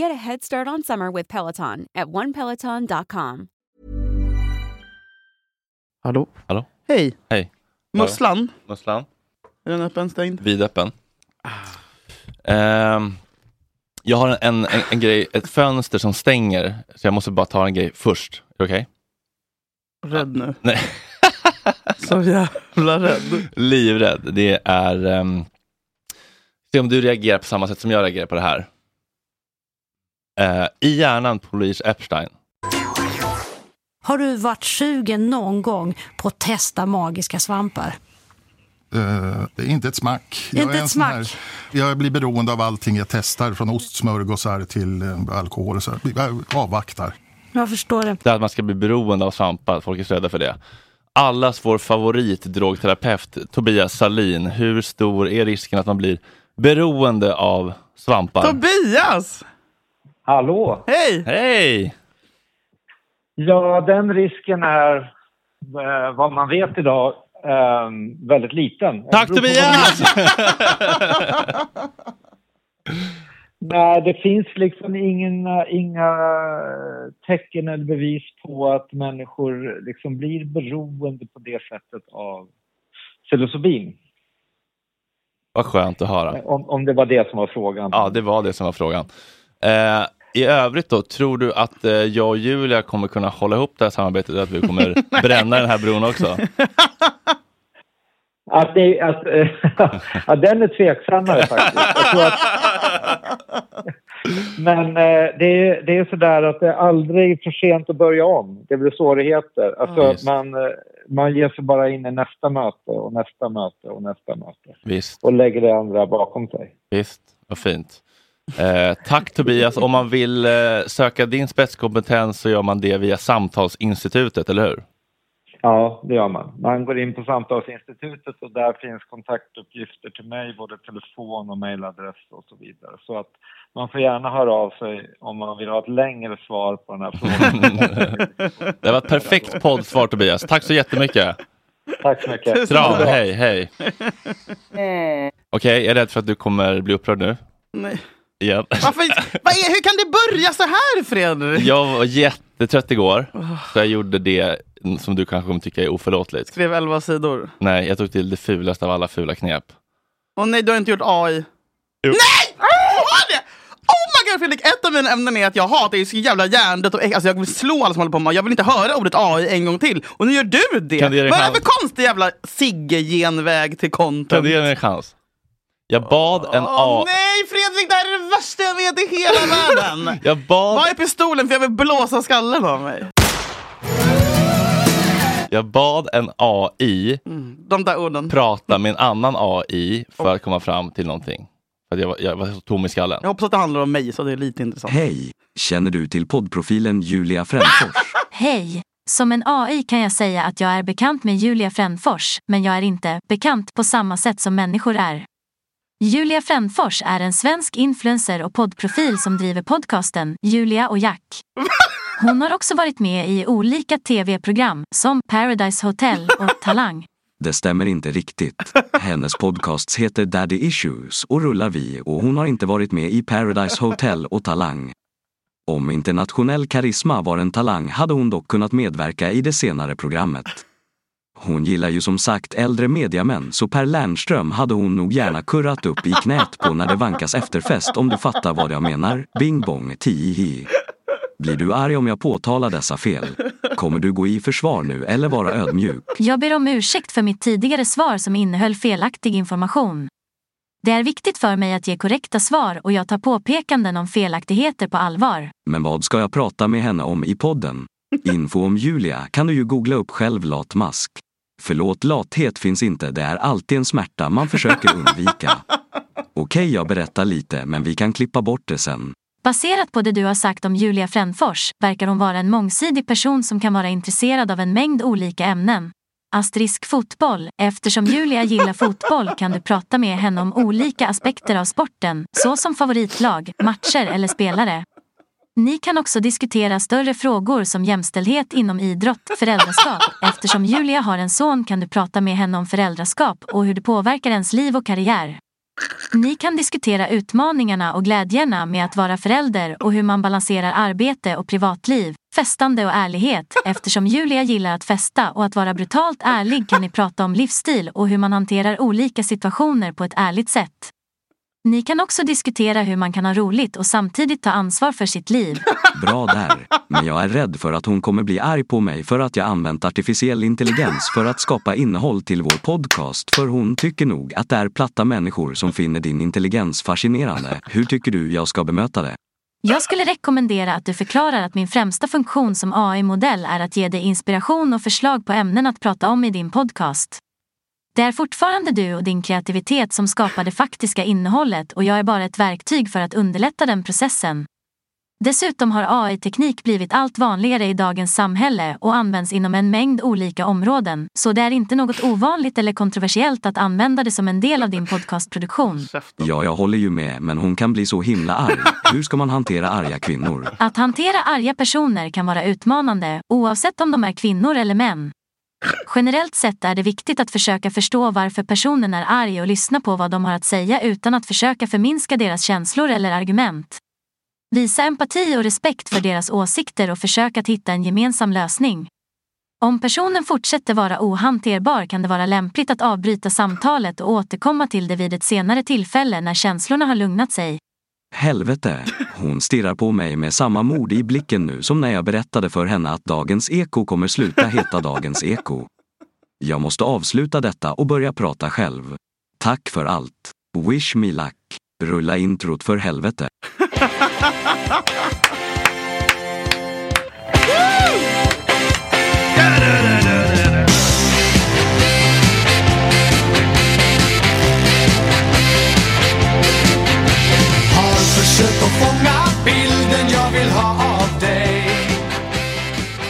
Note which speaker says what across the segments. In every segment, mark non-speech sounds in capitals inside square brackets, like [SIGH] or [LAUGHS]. Speaker 1: Get a head start on summer with Peloton at onepeloton.com.
Speaker 2: Hallå?
Speaker 3: Hallå?
Speaker 2: Hej!
Speaker 3: Hej.
Speaker 2: Musslan,
Speaker 3: Musslan?
Speaker 2: är den öppen, stängd?
Speaker 3: Vidöppen. Ehm, jag har en, en, en grej, ett fönster som stänger, så jag måste bara ta en grej först. Är det Okej?
Speaker 2: Rädd nu.
Speaker 3: Nej.
Speaker 2: Så jävla rädd.
Speaker 3: Livrädd. Det är... ehm, se om du reagerar på samma sätt som jag reagerar på det här. Eh, I hjärnan på Louise Epstein.
Speaker 4: Har du varit sugen någon gång på att testa magiska svampar?
Speaker 5: Eh, det är inte ett smack. Jag
Speaker 4: Inte
Speaker 5: är
Speaker 4: ett
Speaker 5: en sån
Speaker 4: smack.
Speaker 5: Här, jag blir beroende av allting jag testar, från ostsmörgåsar till eh, alkohol. Och så här. Jag avvaktar.
Speaker 4: Jag förstår det.
Speaker 3: Det är att man ska bli beroende av svampar, att folk är så rädda för det. Allas vår favoritdrogterapeut Tobias Salin. hur stor är risken att man blir beroende av svampar?
Speaker 2: Tobias!
Speaker 6: Hallå!
Speaker 2: Hej!
Speaker 3: Hej!
Speaker 6: Ja, den risken är, eh, vad man vet idag, eh, väldigt liten.
Speaker 3: Tack
Speaker 6: Det beror på
Speaker 3: Tobias!
Speaker 6: vad- Nej, det finns liksom inga, inga tecken eller bevis på att människor liksom blir beroende på det sättet av psilocybin.
Speaker 3: Vad skönt att höra.
Speaker 6: Om, om det var det som var frågan.
Speaker 3: Ja, det var det som var frågan. Eh, I övrigt då, tror du att eh, jag och Julia kommer kunna hålla ihop det här samarbetet och att vi kommer bränna den här bron också?
Speaker 6: Att, det, att, eh, [LAUGHS] att den är tveksammare faktiskt. Jag tror att,
Speaker 3: [LAUGHS]
Speaker 6: men eh, det, är- det är sådär att det är aldrig för sent att börja om. Det blir svårigheter. Alltså,
Speaker 3: Ja, just.
Speaker 6: man, eh, man ger sig bara in i nästa möte och nästa möte och nästa möte.
Speaker 3: Visst,
Speaker 6: Och lägger det andra bakom sig.
Speaker 3: visst, vad fint. Eh, tack Tobias, om man vill eh, söka din spetskompetens så gör man det via Samtalsinstitutet, eller hur? [LAUGHS]
Speaker 6: Ja, det gör man. Man går in på Samtalsinstitutet och där finns kontaktuppgifter till mig, både telefon och mejladress och så vidare. Så att man får gärna höra av sig om man vill ha ett längre svar på den här
Speaker 3: [LAUGHS]
Speaker 6: frågan.
Speaker 3: Det var ett perfekt poddsvar Tobias, tack så jättemycket.
Speaker 6: Tack så mycket.
Speaker 3: Kram, hej, hej. Okej, jag är rädd för att du kommer bli upprörd nu.
Speaker 2: Nej.
Speaker 3: Igen.
Speaker 2: Varför, vad är, hur kan det börja så här, Fredrik?
Speaker 3: Jag var jättetrött igår,
Speaker 2: Ah.
Speaker 3: så jag gjorde det som du kanske kommer tycka är oförlåtligt.
Speaker 2: Skrev 11 sidor.
Speaker 3: Nej, jag tog till det fulaste av alla fula knep.
Speaker 2: Och nej, du har inte gjort AI.
Speaker 3: Jo.
Speaker 2: Nej! Åh, har det! Oh my god, Fredrik! Ett av mina ämnen är att jag hatar det är så jävla hjärndött och äck- alltså jag vill slå alla som håller på med Jag vill inte höra ordet AI en gång till. Och nu gör du det!
Speaker 3: Kan du ge dig
Speaker 2: Vad är det
Speaker 3: chans?
Speaker 2: för konstig jävla Sigge-genväg till
Speaker 3: Kan
Speaker 2: content?
Speaker 3: du ge mig en chans? Jag bad en
Speaker 2: Åh
Speaker 3: A...
Speaker 2: nej Fredrik, det här är det värsta jag vet i hela världen!
Speaker 3: Jag bad,
Speaker 2: Var är pistolen för jag vill blåsa skallen av mig?
Speaker 3: jag bad en AI
Speaker 2: Mm. De där orden.
Speaker 3: prata med en annan AI för att komma fram till någonting. För att jag, var, jag var så tom i skallen.
Speaker 2: Jag hoppas att det handlar om mig så det är lite intressant.
Speaker 7: Hej! Känner du till poddprofilen Julia Fränfors?
Speaker 8: Hej! Som en AI kan jag säga att jag är bekant med Julia Frändfors, men jag är inte bekant på samma sätt som människor är. Julia Frändfors är en svensk influencer och poddprofil som driver podcasten Julia och Jack. Hon har också varit med i olika tv-program som Paradise Hotel och Talang.
Speaker 7: Det stämmer inte riktigt. Hennes podcast heter Daddy Issues och rullar vi och hon har inte varit med i Paradise Hotel och Talang. Om internationell karisma var en talang hade hon dock kunnat medverka i det senare programmet. Hon gillar ju som sagt äldre mediamän så Per Lernström hade hon nog gärna kurrat upp i knät på när det vankas efterfest om du fattar vad jag menar. Bing bong tihi. Blir du arg om jag påtalar dessa fel? Kommer du gå i försvar nu eller vara ödmjuk?
Speaker 8: Jag ber om ursäkt för mitt tidigare svar som innehöll felaktig information. Det är viktigt för mig att ge korrekta svar och jag tar påpekanden om felaktigheter på allvar.
Speaker 7: Men vad ska jag prata med henne om i podden? Info om Julia kan du ju googla upp själv latmask. Förlåt, lathet finns inte. Det är alltid en smärta man försöker undvika. Okej, jag berättar lite, men vi kan klippa bort det sen.
Speaker 8: Baserat på det du har sagt om Julia Frändfors verkar hon vara en mångsidig person som kan vara intresserad av en mängd olika ämnen. Asterisk fotboll. Eftersom Julia gillar fotboll kan du prata med henne om olika aspekter av sporten, såsom favoritlag, matcher eller spelare. Ni kan också diskutera större frågor som jämställdhet inom idrott, föräldraskap. Eftersom Julia har en son kan du prata med henne om föräldraskap och hur det påverkar ens liv och karriär. Ni kan diskutera utmaningarna och glädjerna med att vara förälder och hur man balanserar arbete och privatliv, festande och ärlighet. Eftersom Julia gillar att festa och att vara brutalt ärlig kan ni prata om livsstil och hur man hanterar olika situationer på ett ärligt sätt. Ni kan också diskutera hur man kan ha roligt och samtidigt ta ansvar för sitt liv.
Speaker 7: Bra där. Men jag är rädd för att hon kommer bli arg på mig för att jag använt artificiell intelligens för att skapa innehåll till vår podcast. För hon tycker nog att det är platta människor som finner din intelligens fascinerande. Hur tycker du jag ska bemöta det?
Speaker 8: Jag skulle rekommendera att du förklarar att min främsta funktion som AI-modell är att ge dig inspiration och förslag på ämnen att prata om i din podcast. Det är fortfarande du och din kreativitet som skapar det faktiska innehållet och jag är bara ett verktyg för att underlätta den processen. Dessutom har AI-teknik blivit allt vanligare i dagens samhälle och används inom en mängd olika områden, så det är inte något ovanligt eller kontroversiellt att använda det som en del av din podcastproduktion.
Speaker 7: Ja, jag håller ju med, men hon kan bli så himla arg. Hur ska man hantera arga kvinnor?
Speaker 8: Att hantera arga personer kan vara utmanande, oavsett om de är kvinnor eller män. Generellt sett är det viktigt att försöka förstå varför personen är arg och lyssna på vad de har att säga utan att försöka förminska deras känslor eller argument. Visa empati och respekt för deras åsikter och försök att hitta en gemensam lösning. Om personen fortsätter vara ohanterbar kan det vara lämpligt att avbryta samtalet och återkomma till det vid ett senare tillfälle när känslorna har lugnat sig.
Speaker 7: Helvete! Hon stirrar på mig med samma mod i blicken nu som när jag berättade för henne att Dagens Eko kommer sluta heta Dagens Eko. Jag måste avsluta detta och börja prata själv. Tack för allt. Wish me luck. Rulla introt för helvete.
Speaker 9: Har försökt att fånga bilden jag vill ha av dig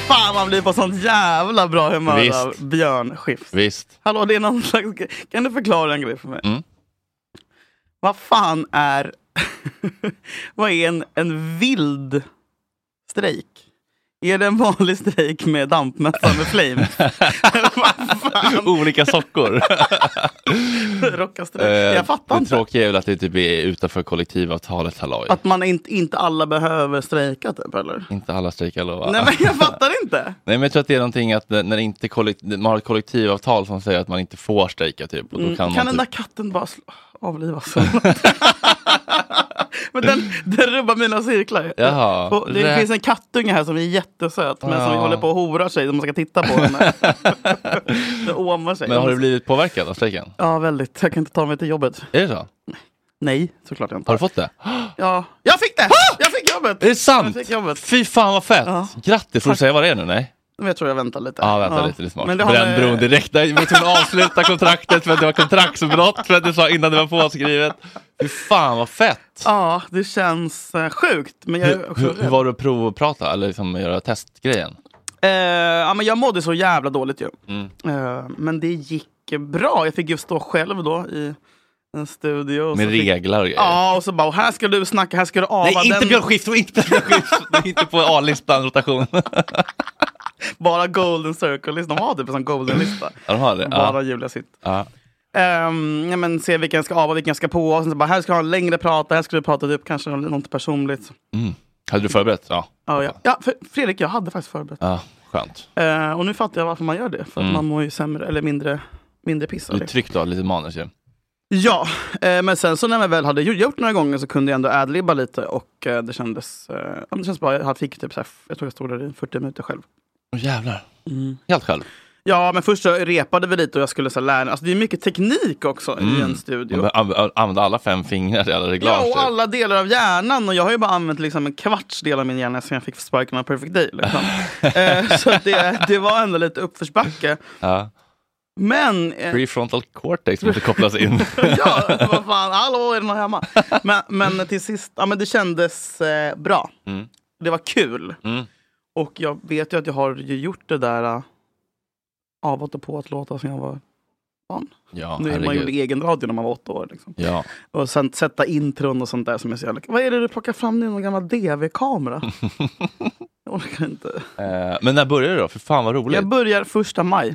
Speaker 2: Fan man blir på sånt jävla bra humör
Speaker 3: Visst.
Speaker 2: av Björn Skifs.
Speaker 3: Visst.
Speaker 2: [LAUGHS] Hallå, det är någon slags... Kan du förklara en grej för mig?
Speaker 3: Mm.
Speaker 2: Vad fan är... [LAUGHS] vad är en, en vild strejk? Är det en vanlig strejk med dampmössa med
Speaker 3: [LAUGHS]
Speaker 2: flame?
Speaker 3: Olika sockor.
Speaker 2: Rockarstrejk? [LAUGHS] Jag fattar
Speaker 3: Eh, det
Speaker 2: inte.
Speaker 3: tråkiga är väl att det typ är utanför kollektivavtalet halloj.
Speaker 2: Att man inte, inte alla behöver strejka typ, eller?
Speaker 3: Inte alla strejkar lova.
Speaker 2: Nej, men jag fattar inte.
Speaker 3: Nej men jag tror att det är någonting att när när det inte kollekt- man har ett kollektivavtal som säger att man inte får strejka typ. Och då [LAUGHS]
Speaker 2: Mm,
Speaker 3: kan
Speaker 2: kan
Speaker 3: man
Speaker 2: den
Speaker 3: typ...
Speaker 2: där katten bara sl- avlivas? [LAUGHS] men den, den rubbar mina cirklar.
Speaker 3: Jaha.
Speaker 2: Och det
Speaker 3: Rä-
Speaker 2: finns en kattunge här som är jättesöt men som
Speaker 3: Ja.
Speaker 2: håller på och horar sig. som Man ska titta på
Speaker 3: [LAUGHS]
Speaker 2: henne. den åmar sig.
Speaker 3: Men har du blivit påverkad av strejken?
Speaker 2: Ja, väldigt. Jag kan inte ta mig till jobbet.
Speaker 3: Är det så?
Speaker 2: Nej, såklart jag inte.
Speaker 3: Har du fått det?
Speaker 2: Ja, jag fick det! Jag fick jobbet!
Speaker 3: Är det sant?
Speaker 2: Jag fick jobbet.
Speaker 3: Fy fan vad fett! Grattis! Får du säga vad det är nu? Nej?
Speaker 2: Men jag tror jag väntar lite.
Speaker 3: Ja, vänta lite, det är smart.
Speaker 2: Men det har
Speaker 3: Bränn
Speaker 2: med-
Speaker 3: bron direkt. Nej, vi tog
Speaker 2: [LAUGHS]
Speaker 3: avsluta kontraktet för att det var kontraktsbrott för att du sa innan det var påskrivet. Fy fan vad fett!
Speaker 2: Ja, det känns eh, sjukt. Men jag är
Speaker 3: Hur,
Speaker 2: också
Speaker 3: hur, hur
Speaker 2: rädd.
Speaker 3: var det att provprata eller liksom göra testgrejen?
Speaker 2: Eh, ja, men jag mådde så jävla dåligt ju.
Speaker 3: Mm.
Speaker 2: Eh, men det gick bra. Jag fick ju stå själv då i en studio. och
Speaker 3: Med
Speaker 2: så fick-
Speaker 3: regler och grejer?
Speaker 2: Ja, och så bara, och här ska du snacka, här ska du ava
Speaker 3: Nej, inte
Speaker 2: den.
Speaker 3: Björn Skifs och inte Björn Skifs! Det är inte på A-listan
Speaker 2: [LAUGHS]
Speaker 3: rotation.
Speaker 2: Bara golden circle De har typ en sån golden lista.
Speaker 3: Ja, de har det. [CLEARS THROAT]
Speaker 2: Bara
Speaker 3: Ja.
Speaker 2: Julia sitt.
Speaker 3: Ja.
Speaker 2: Ehm, ja, men se vilken jag ska ava, vilken jag ska på. Och sen så bara, här ska jag ha en längre prata, här ska du prata typ kanske om något personligt.
Speaker 3: Mm. Hade du förberett? Ja.
Speaker 2: Ja, ja. ja för Fredrik, jag hade faktiskt förberett.
Speaker 3: ja. Skönt.
Speaker 2: Eh, och nu fattar jag varför man gör det. För att
Speaker 3: Mm.
Speaker 2: man mår ju sämre, eller mindre, mindre pissad.
Speaker 3: Du tryckte av lite manus ju.
Speaker 2: Ja, eh, men sen så när jag väl hade ju- gjort några gånger så kunde jag ändå adlibba lite och eh, det kändes, eh, ja, men det kändes bra. Jag fick typ så här, jag tror jag stod där i 40 minuter själv.
Speaker 3: Åh jävlar. Helt själv.
Speaker 2: Ja, men först så repade vi lite och jag skulle så här lära mig. Alltså, det är mycket teknik också i en studio.
Speaker 3: Mm. Man behöver an- Använda alla fem fingrar i alla reglage.
Speaker 2: Ja,
Speaker 3: typ.
Speaker 2: och alla delar av hjärnan. Och jag har ju bara använt liksom en kvarts del av min hjärna sen jag fick sparken av Perfect Day.
Speaker 3: [LAUGHS]
Speaker 2: Liksom. eh, så att det, det var ändå lite uppförsbacke.
Speaker 3: Ja.
Speaker 2: Men... eh,
Speaker 3: Prefrontal cortex måste kopplas
Speaker 2: [LAUGHS]
Speaker 3: in.
Speaker 2: ja, vad fan, hallå, är det någon hemma? Men, men till sist, ja men det kändes eh, bra.
Speaker 3: Mm.
Speaker 2: Det var kul. Och jag vet ju att jag har ju gjort det där eh, avåt och pååt låtar sen jag var barn.
Speaker 3: Ja,
Speaker 2: nu är man
Speaker 3: herregud.
Speaker 2: gjorde egen radio när man var åtta år. Liksom.
Speaker 3: Ja. [LAUGHS]
Speaker 2: Och sen sätta intron och sånt där som är så jävla... Vad är det du plockar fram nu? Någon gammal DV-kamera? jag orkar inte.
Speaker 3: Eh, men när börjar det då? För fan vad roligt.
Speaker 2: Jag börjar första maj.
Speaker 3: Eh,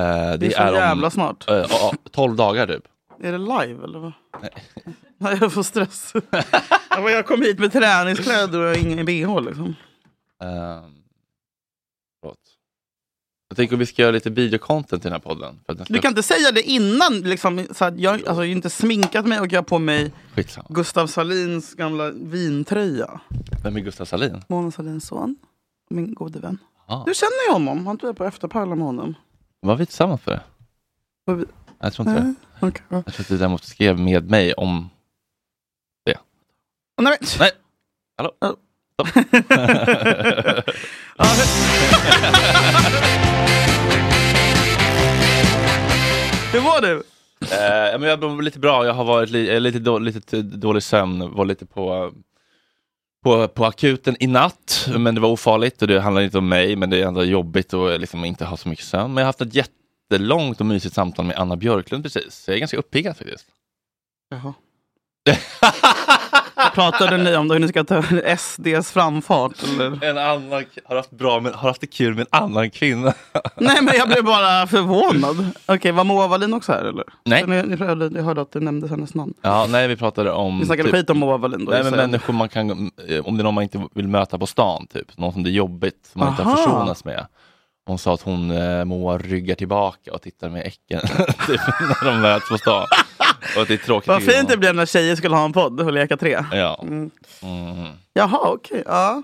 Speaker 3: det,
Speaker 2: det är så
Speaker 3: är om,
Speaker 2: jävla snart.
Speaker 3: eh, ja, 12 dagar typ.
Speaker 2: Är det live eller vad? [LAUGHS] Nej, jag
Speaker 3: [LAUGHS]
Speaker 2: får stress. Ja, men jag kom hit med träningskläder och ingen bh liksom.
Speaker 3: Ehm, förlåt. Jag tänker om vi ska göra lite videocontent i den här podden. För att den ska...
Speaker 2: Du kan inte säga det innan. Liksom, så att jag alltså, jag har ju inte sminkat mig och jag har på mig
Speaker 3: Skitsamma.
Speaker 2: Gustav Salins gamla vintröja.
Speaker 3: Vem är Gustav Salin?
Speaker 2: Mona Salins son. Min gode vän.
Speaker 3: Ah.
Speaker 2: Du känner ju honom. Han var på efterparla med honom.
Speaker 3: Var vi tillsammans för det?
Speaker 2: Var vi-
Speaker 3: Jag tror inte det.
Speaker 2: Nej, okej.
Speaker 3: Jag tror att du däremot skrev med mig om det.
Speaker 2: Nej, men...
Speaker 3: Nej. Hallå?
Speaker 2: [LAUGHS]
Speaker 3: Stopp.
Speaker 2: Hur mår du?
Speaker 3: Eh, men jag mår lite bra. Jag har varit li- eh, lite, då- lite t- dålig sömn. Var lite på, på, på akuten i natt. Men det var ofarligt och det handlar inte om mig. Men det är ändå jobbigt att eh, liksom inte ha så mycket sömn. Men jag har haft ett jättelångt och mysigt samtal med Anna Björklund precis. Så jag är ganska uppiggad faktiskt. [LAUGHS]
Speaker 2: Jaha. Pratade ni om då hur ni ska ta SDs framfart? Eller?
Speaker 3: En annan, k- har, haft bra, men, har haft det kul med en annan kvinna.
Speaker 2: Nej, men jag blev bara förvånad. Okej, var Moa Wallin också här eller?
Speaker 3: Nej.
Speaker 2: Ni, ni hörde, jag hörde att det nämndes hennes namn.
Speaker 3: Ja, nej, vi pratade om... typ-
Speaker 2: Vi snackade skit om Moa Wallin
Speaker 3: Mm,
Speaker 2: då.
Speaker 3: Nej, men
Speaker 2: gissar jag.
Speaker 3: människor man kan, eh, om det är någon man inte vill möta på stan, typ. någon som det är jobbigt, som man inte har
Speaker 2: Aha.
Speaker 3: försonats med. Hon sa att hon, eh, Moa, ryggar tillbaka och tittar med äcken [LAUGHS] typ, när de möts på stan. Och att det är tråkigt.
Speaker 2: Vad
Speaker 3: tycker
Speaker 2: fint det
Speaker 3: hon.
Speaker 2: blev när tjejer skulle ha en podd och leka tre.
Speaker 3: Ja.
Speaker 2: Mm.
Speaker 3: Mm.
Speaker 2: Jaha, okej. ja.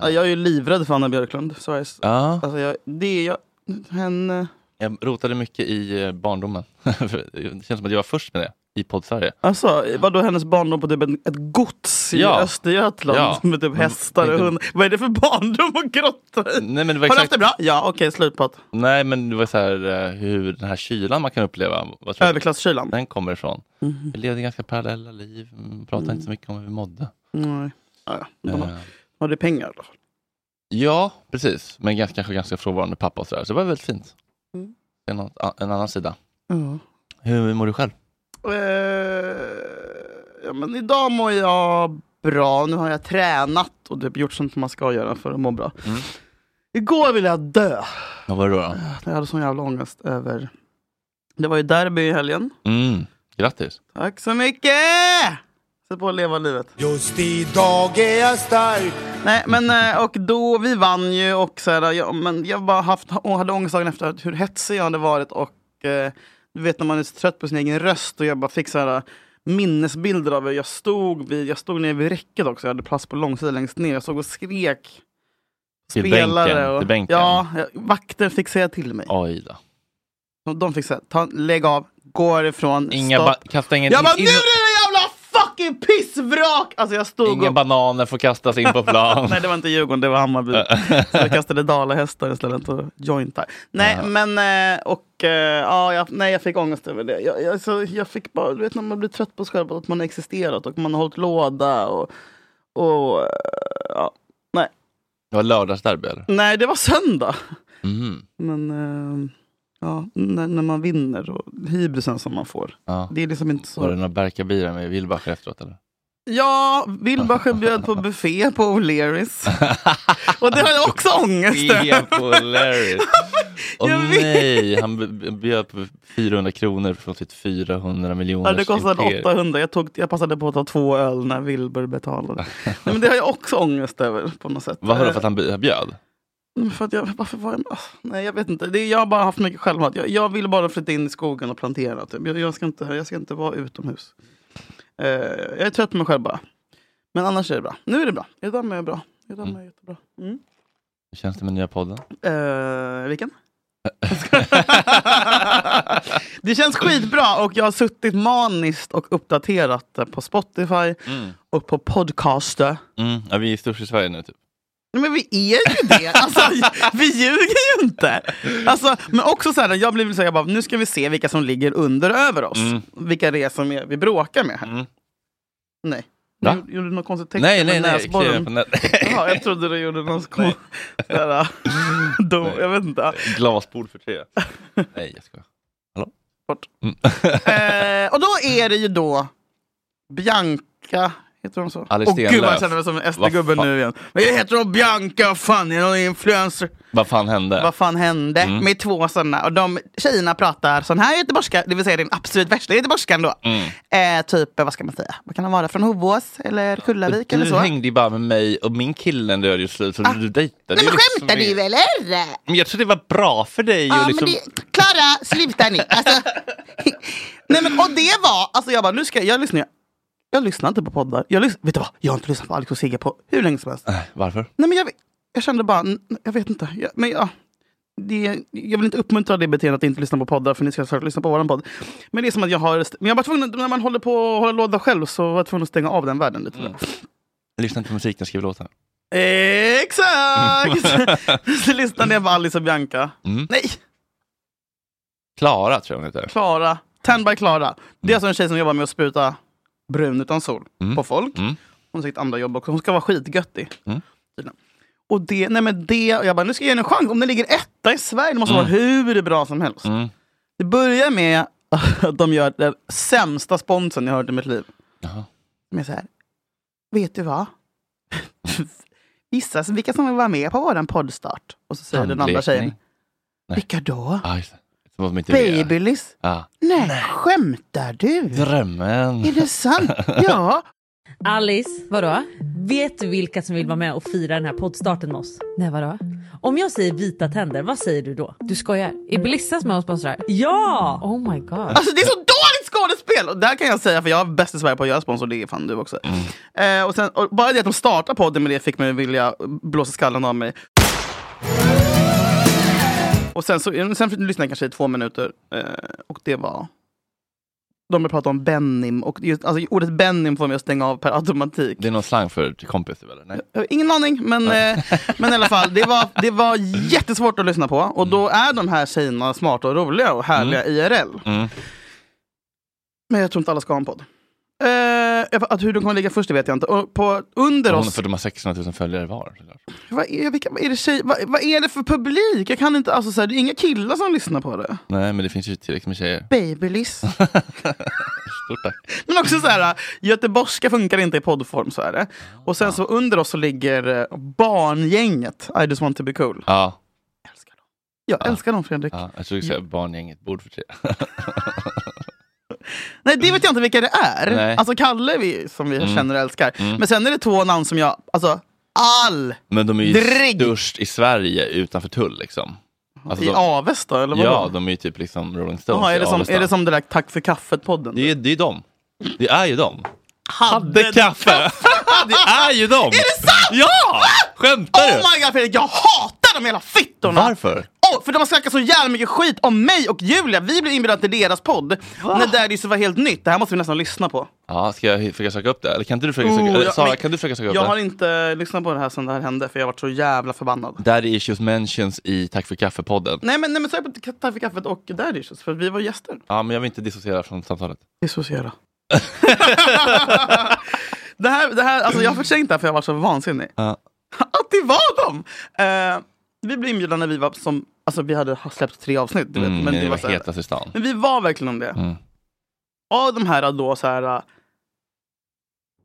Speaker 2: Ja, jag är ju livrädd för Anna Björklund. Sveriges...
Speaker 3: Ja.
Speaker 2: Alltså, jag, det är jag... Henne...
Speaker 3: Jag rotade mycket i eh, barndomen. [LAUGHS] det känns som att jag var först med det i podd-Sverige.
Speaker 2: Alltså, vadå hennes barndom på typ en- ett gods i
Speaker 3: Ja.
Speaker 2: Östergötland
Speaker 3: Ja.
Speaker 2: [LAUGHS] med typ
Speaker 3: Men
Speaker 2: hästar och
Speaker 3: tänkte-
Speaker 2: hundar? Vad är det för barndom och grotta i?
Speaker 3: Nej men, det var
Speaker 2: Har du haft
Speaker 3: exakt,
Speaker 2: det bra? Ja, okej, slut på att
Speaker 3: nej, men det var så här, eh, hur den här kylan man kan uppleva, vad tror du
Speaker 2: överklasskylan.
Speaker 3: den kommer ifrån?
Speaker 2: Mm-hmm.
Speaker 3: Vi levde ganska parallella liv, mm, pratade inte så mycket om hur vi mådde.
Speaker 2: Nej. Ja, ja. De
Speaker 3: Eh.
Speaker 2: har- har du pengar då?
Speaker 3: Ja, precis. Men ganska, kanske ganska frånvarande pappa och sådär. Så det var väldigt fint.
Speaker 2: Mm.
Speaker 3: Det är något, a- en annan sida.
Speaker 2: Ja.
Speaker 3: Hur mår du själv?
Speaker 2: Eh, ja, men idag mår jag bra. Nu har jag tränat och typ gjort sånt som man ska göra för att må bra.
Speaker 3: Mm.
Speaker 2: Igår ville jag dö.
Speaker 3: Vad var det då? då?
Speaker 2: Jag hade sån jävla ångest över... Det var ju derby i helgen.
Speaker 3: Mm. Grattis.
Speaker 2: Tack så mycket! Se på att leva livet.
Speaker 9: Just idag är jag stark
Speaker 2: Nej, men eh, och då, vi vann ju och så här, ja, men jag bara haft, och hade ångest dagen efter hur hetsig jag hade varit och eh, du vet när man är så trött på sin egen röst och jag bara fick så här eh, minnesbilder av hur jag stod vid, jag stod nere vid räcket också, jag hade plats på långsidan längst ner, jag stod och skrek.
Speaker 3: Till bänken, till bänken.
Speaker 2: Ja, jag- vakter fick säga till mig.
Speaker 3: Oj då.
Speaker 2: Och De fick säga, ta, lägg av, gå ifrån,
Speaker 3: Inga ba-
Speaker 2: stopp.
Speaker 3: kasta ingen,
Speaker 2: Jag bara, nu
Speaker 3: in-
Speaker 2: är det jävla fucking pissvrak! Alltså jag stod
Speaker 3: inga
Speaker 2: och
Speaker 3: bananer får kastas in på
Speaker 2: [LAUGHS]
Speaker 3: plan.
Speaker 2: Nej, det var inte Djurgården, det
Speaker 3: [LAUGHS]
Speaker 2: var Hammarby. Så jag kastade dalahästar istället och jointar. Nej, men eh, och, eh, ja, jag, nej, jag fick ångest över det. Jag, jag, så jag fick bara, du vet när man blir trött på sig själv, att man har existerat och man har hållit låda. Och, och, eh, ja. nej.
Speaker 3: Det var lördagsderby eller?
Speaker 2: nej, det var söndag.
Speaker 3: Mm.
Speaker 2: Men eh, ja, när, när man vinner och hybrisen som man får.
Speaker 3: Ja.
Speaker 2: Det är liksom inte så.
Speaker 3: Var det några Berkabira med Wilbacher efteråt eller?
Speaker 2: Ja, Wilbacher bjöd på buffé på O'Learys. Och det har jag också ångest
Speaker 3: Ge på Larry. Åh
Speaker 2: [LAUGHS] Jag vet.
Speaker 3: nej, han b- b- bjöd på 400 kronor från sitt 400 miljoner.
Speaker 2: Ja, det kostade 800. Jag, tog, jag passade på att ta två öl när Wilbur betalade. Nej, men det har jag också ångest över på något sätt.
Speaker 3: Vadå för att han b- bjöd?
Speaker 2: han... För att jag, varför var jag... ah, Nej, jag vet inte. Det, är- jag har bara haft mycket självhat. Jag, jag vill bara flytta in i skogen och plantera. Typ. Jag, jag, ska inte, jag ska inte vara utomhus. Eh, jag är trött på mig själv bara. Men annars är det bra. Nu är det bra. Idag mår jag bra. Idag mår jag jättebra. Mm.
Speaker 3: Hur känns det med nya podden?
Speaker 2: Eh, vilken? Det känns skitbra och jag har suttit maniskt och uppdaterat eh, på Spotify
Speaker 3: Mm.
Speaker 2: och på podcaster.
Speaker 3: Mm. Ja, vi är störst i Sverige nu typ.
Speaker 2: Nej, Men vi är ju det,
Speaker 3: [LAUGHS]
Speaker 2: alltså, vi ljuger ju inte. Alltså, men också så här, jag blev så här, jag bara, nu ska vi se vilka som ligger under och över oss.
Speaker 3: Mm.
Speaker 2: Vilka det är som är, vi bråkar med här. Nej.
Speaker 3: Va?
Speaker 2: Du gjorde något konstigt tecken
Speaker 3: Nej, nej,
Speaker 2: med
Speaker 3: nej. kliar
Speaker 2: näsborren. [LAUGHS]
Speaker 3: på nät-
Speaker 2: Jaha, jag trodde du gjorde någon skoj. Såhär, dum, jag vet inte.
Speaker 3: [LAUGHS] Glasbord för
Speaker 2: [LAUGHS]
Speaker 3: tre. Nej, jag skojar. Hallå?
Speaker 2: Bort.
Speaker 3: Mm.
Speaker 2: Eh, och då är det ju då Bianca, heter hon så?
Speaker 3: Alice
Speaker 2: Åh gud vad jag
Speaker 3: Stenlöf.
Speaker 2: känner mig som en
Speaker 3: Vad
Speaker 2: SD-gubbe
Speaker 3: fan?
Speaker 2: nu igen. Men jag heter hon Bianca, fan är hon influencer?
Speaker 3: Vad fan hände?
Speaker 2: Vad fan hände?
Speaker 3: Mm.
Speaker 2: Med två sådana. Och de tjejerna pratar sån här göteborgska, det vill säga den absolut värsta göteborgskan då.
Speaker 3: Mm.
Speaker 2: Eh, typ, vad ska man säga? Vad kan han vara? Från Hovås eller Kullavik eller
Speaker 3: Du
Speaker 2: så? Ah.
Speaker 3: hängde ju bara med mig och min kille när du hade gjort slut. Så du dejtade ju
Speaker 2: Nej men
Speaker 3: liksom
Speaker 2: skämtar
Speaker 3: ingen-
Speaker 2: du eller?
Speaker 3: Men jag tror det var bra för dig.
Speaker 2: Ja,
Speaker 3: och liksom...
Speaker 2: men det, Klara, sluta nu. Alltså, [LAUGHS] nej, men, och det var, alltså jag bara, nu ska jag, jag lyssnar. Jag lyssnar inte på poddar. Jag lyssnar, vet du vad? Jag har inte lyssnat på Alex och Sigge på hur länge som helst.
Speaker 3: Äh, varför?
Speaker 2: Nej, men jag, vet- jag kände bara, n- jag vet inte. Jag, men jag, det, jag vill inte uppmuntra det beteendet att inte lyssna på poddar, för ni ska såklart lyssna på våran podd. Men det är som att jag har... Men jag var tvungen, när man håller på att hålla låda själv så var jag tvungen att stänga av den världen lite.
Speaker 3: Mm. Lyssna inte på musik när jag skriver låtar.
Speaker 2: Exakt! [LAUGHS] så lyssnade jag på Alice och Bianca.
Speaker 3: Mm.
Speaker 2: Nej,
Speaker 3: Klara tror jag hon heter.
Speaker 2: Klara. Ten by Klara. Det är alltså en tjej som jobbar med att spruta brun utan sol
Speaker 3: Mm.
Speaker 2: på folk.
Speaker 3: Mm.
Speaker 2: Hon har sitt andra jobb också. Hon ska vara skitgöttig.
Speaker 3: Mm.
Speaker 2: tydligen. Och det, nej men det, och jag bara, nu ska jag ge henne en chans. Om den ligger etta i Sverige, det måste vara hur bra som helst.
Speaker 3: Mm.
Speaker 2: Det börjar med att de gör den sämsta sponsen jag hört i mitt liv.
Speaker 3: Jaha.
Speaker 2: Som är så här, vet du vad? [LAUGHS] Gissa vilka som vill vara med på våran poddstart. Och så säger den andra tjejen,
Speaker 3: Nej.
Speaker 2: vilka då?
Speaker 3: Ah, just det. Som att de inte vet.
Speaker 2: Babyliss?
Speaker 3: Ah.
Speaker 2: Nej, skämtar du?
Speaker 3: Drömmen.
Speaker 2: Är
Speaker 3: [LAUGHS]
Speaker 2: det sant? Ja.
Speaker 10: Alice, vadå? Vet du vilka som vill vara med och fira den här poddstarten med oss?
Speaker 11: Nej vadå?
Speaker 10: Om jag säger vita tänder, vad säger du då?
Speaker 11: Du skojar? Är Belissas med och sponsrar?
Speaker 10: Ja!
Speaker 11: Oh my god.
Speaker 2: Alltså det är så dåligt skådespel! Och där kan jag säga, för jag är bäst i Sverige på att göra sponsor, det är fan du också.
Speaker 3: Mm.
Speaker 2: Eh, och sen, och bara det att de startar podden med det fick mig att vilja blåsa skallen av mig. Och sen, så, sen lyssnade jag kanske i två minuter eh, och det var... De började prata om Benim och just, alltså, ordet Benim får mig att stänga av per automatik.
Speaker 3: Det är någon slang för kompis typ, eller? Nej.
Speaker 2: Jag har ingen aning, men,
Speaker 3: [LAUGHS]
Speaker 2: eh, men i alla fall. Det var, det var jättesvårt att lyssna på. Och då är de här tjejerna smarta och roliga och härliga IRL.
Speaker 3: Mm.
Speaker 2: Men jag tror inte alla ska ha en podd. Eh, jag- att hur de kommer ligga först det vet jag inte. Och på, under
Speaker 3: Hon,
Speaker 2: oss,
Speaker 3: för de har 600 000 följare var. såklart.
Speaker 2: vad, är, vilka, vad, är det tjej, vad, vad är det för publik? Jag kan inte, alltså, så här, det är inga killar som lyssnar på det.
Speaker 3: Nej, men det finns ju tillräckligt med
Speaker 2: [LAUGHS]
Speaker 3: tjejer.
Speaker 2: Babyliss.
Speaker 3: Stort tack.
Speaker 2: Men också så här, göteborgska funkar inte i poddform, så är det. Och sen så under oss så ligger eh, barngänget, I just want to be cool.
Speaker 3: Ja,
Speaker 2: Jag älskar dem Fredrik.
Speaker 3: ja jag tror du skulle
Speaker 2: Mm.
Speaker 3: säga barngänget bord för tre.
Speaker 2: Nej, det vet jag inte vilka det är.
Speaker 3: Nej.
Speaker 2: Alltså Kalle vi, som vi
Speaker 3: Mm.
Speaker 2: känner och älskar.
Speaker 3: Mm.
Speaker 2: Men sen är det två namn som jag, alltså all
Speaker 3: [LAUGHS] Men de är ju
Speaker 2: Drägg! Mm.
Speaker 3: störst i Sverige utanför tull liksom. Alltså,
Speaker 2: I
Speaker 3: de-
Speaker 2: Avesta eller vad
Speaker 3: Ja, de är ju typ liksom Rolling Stones
Speaker 2: Jaha, är,
Speaker 3: i
Speaker 2: det som,
Speaker 3: Avesta.
Speaker 2: är det som det där Tack för kaffet-podden?
Speaker 3: Det är, det är de. Det är ju de.
Speaker 2: Hade
Speaker 3: Hade
Speaker 2: [LAUGHS]
Speaker 3: kaffe! det är ju de! Är
Speaker 2: det sant?
Speaker 3: Ja! Skämtar
Speaker 2: Oh
Speaker 3: du?
Speaker 2: my god Fredrik, jag hatar de jävla fittorna!
Speaker 3: Varför?
Speaker 2: Åh, för de har snackat så jävla mycket skit om mig och Julia, vi blev inbjudna till deras podd. När Daddy var helt nytt, det här måste vi nästan lyssna på.
Speaker 3: Ja, ska jag försöka söka upp det? Eller kan inte du försöka söka,
Speaker 2: Oh,
Speaker 3: eller,
Speaker 2: jag-
Speaker 3: Sara,
Speaker 2: men-
Speaker 3: kan du försöka söka upp
Speaker 2: Jag har
Speaker 3: det?
Speaker 2: inte lyssnat på det här sedan det här hände för jag har varit så jävla förbannad.
Speaker 3: Daddy Issues Mentions i Tack för kaffe-podden.
Speaker 2: Nej men, nej, men så är det på Tack för kaffet och Daddy Issues, för vi var gäster.
Speaker 3: Ja, men jag vill inte dissociera från samtalet.
Speaker 2: Dissociera. [LAUGHS] det här, det här, alltså jag har förträngt det här för jag var så vansinnig.
Speaker 3: Ja.
Speaker 2: Att det var dem! Eh, vi blev inbjudna när vi var som, alltså vi hade släppt tre avsnitt. Du vet,
Speaker 3: Mm,
Speaker 2: men,
Speaker 3: men
Speaker 2: det var så här,
Speaker 3: hetast i stan.
Speaker 2: men vi var verkligen om det.
Speaker 3: Mm.
Speaker 2: Av de här då så här, eh,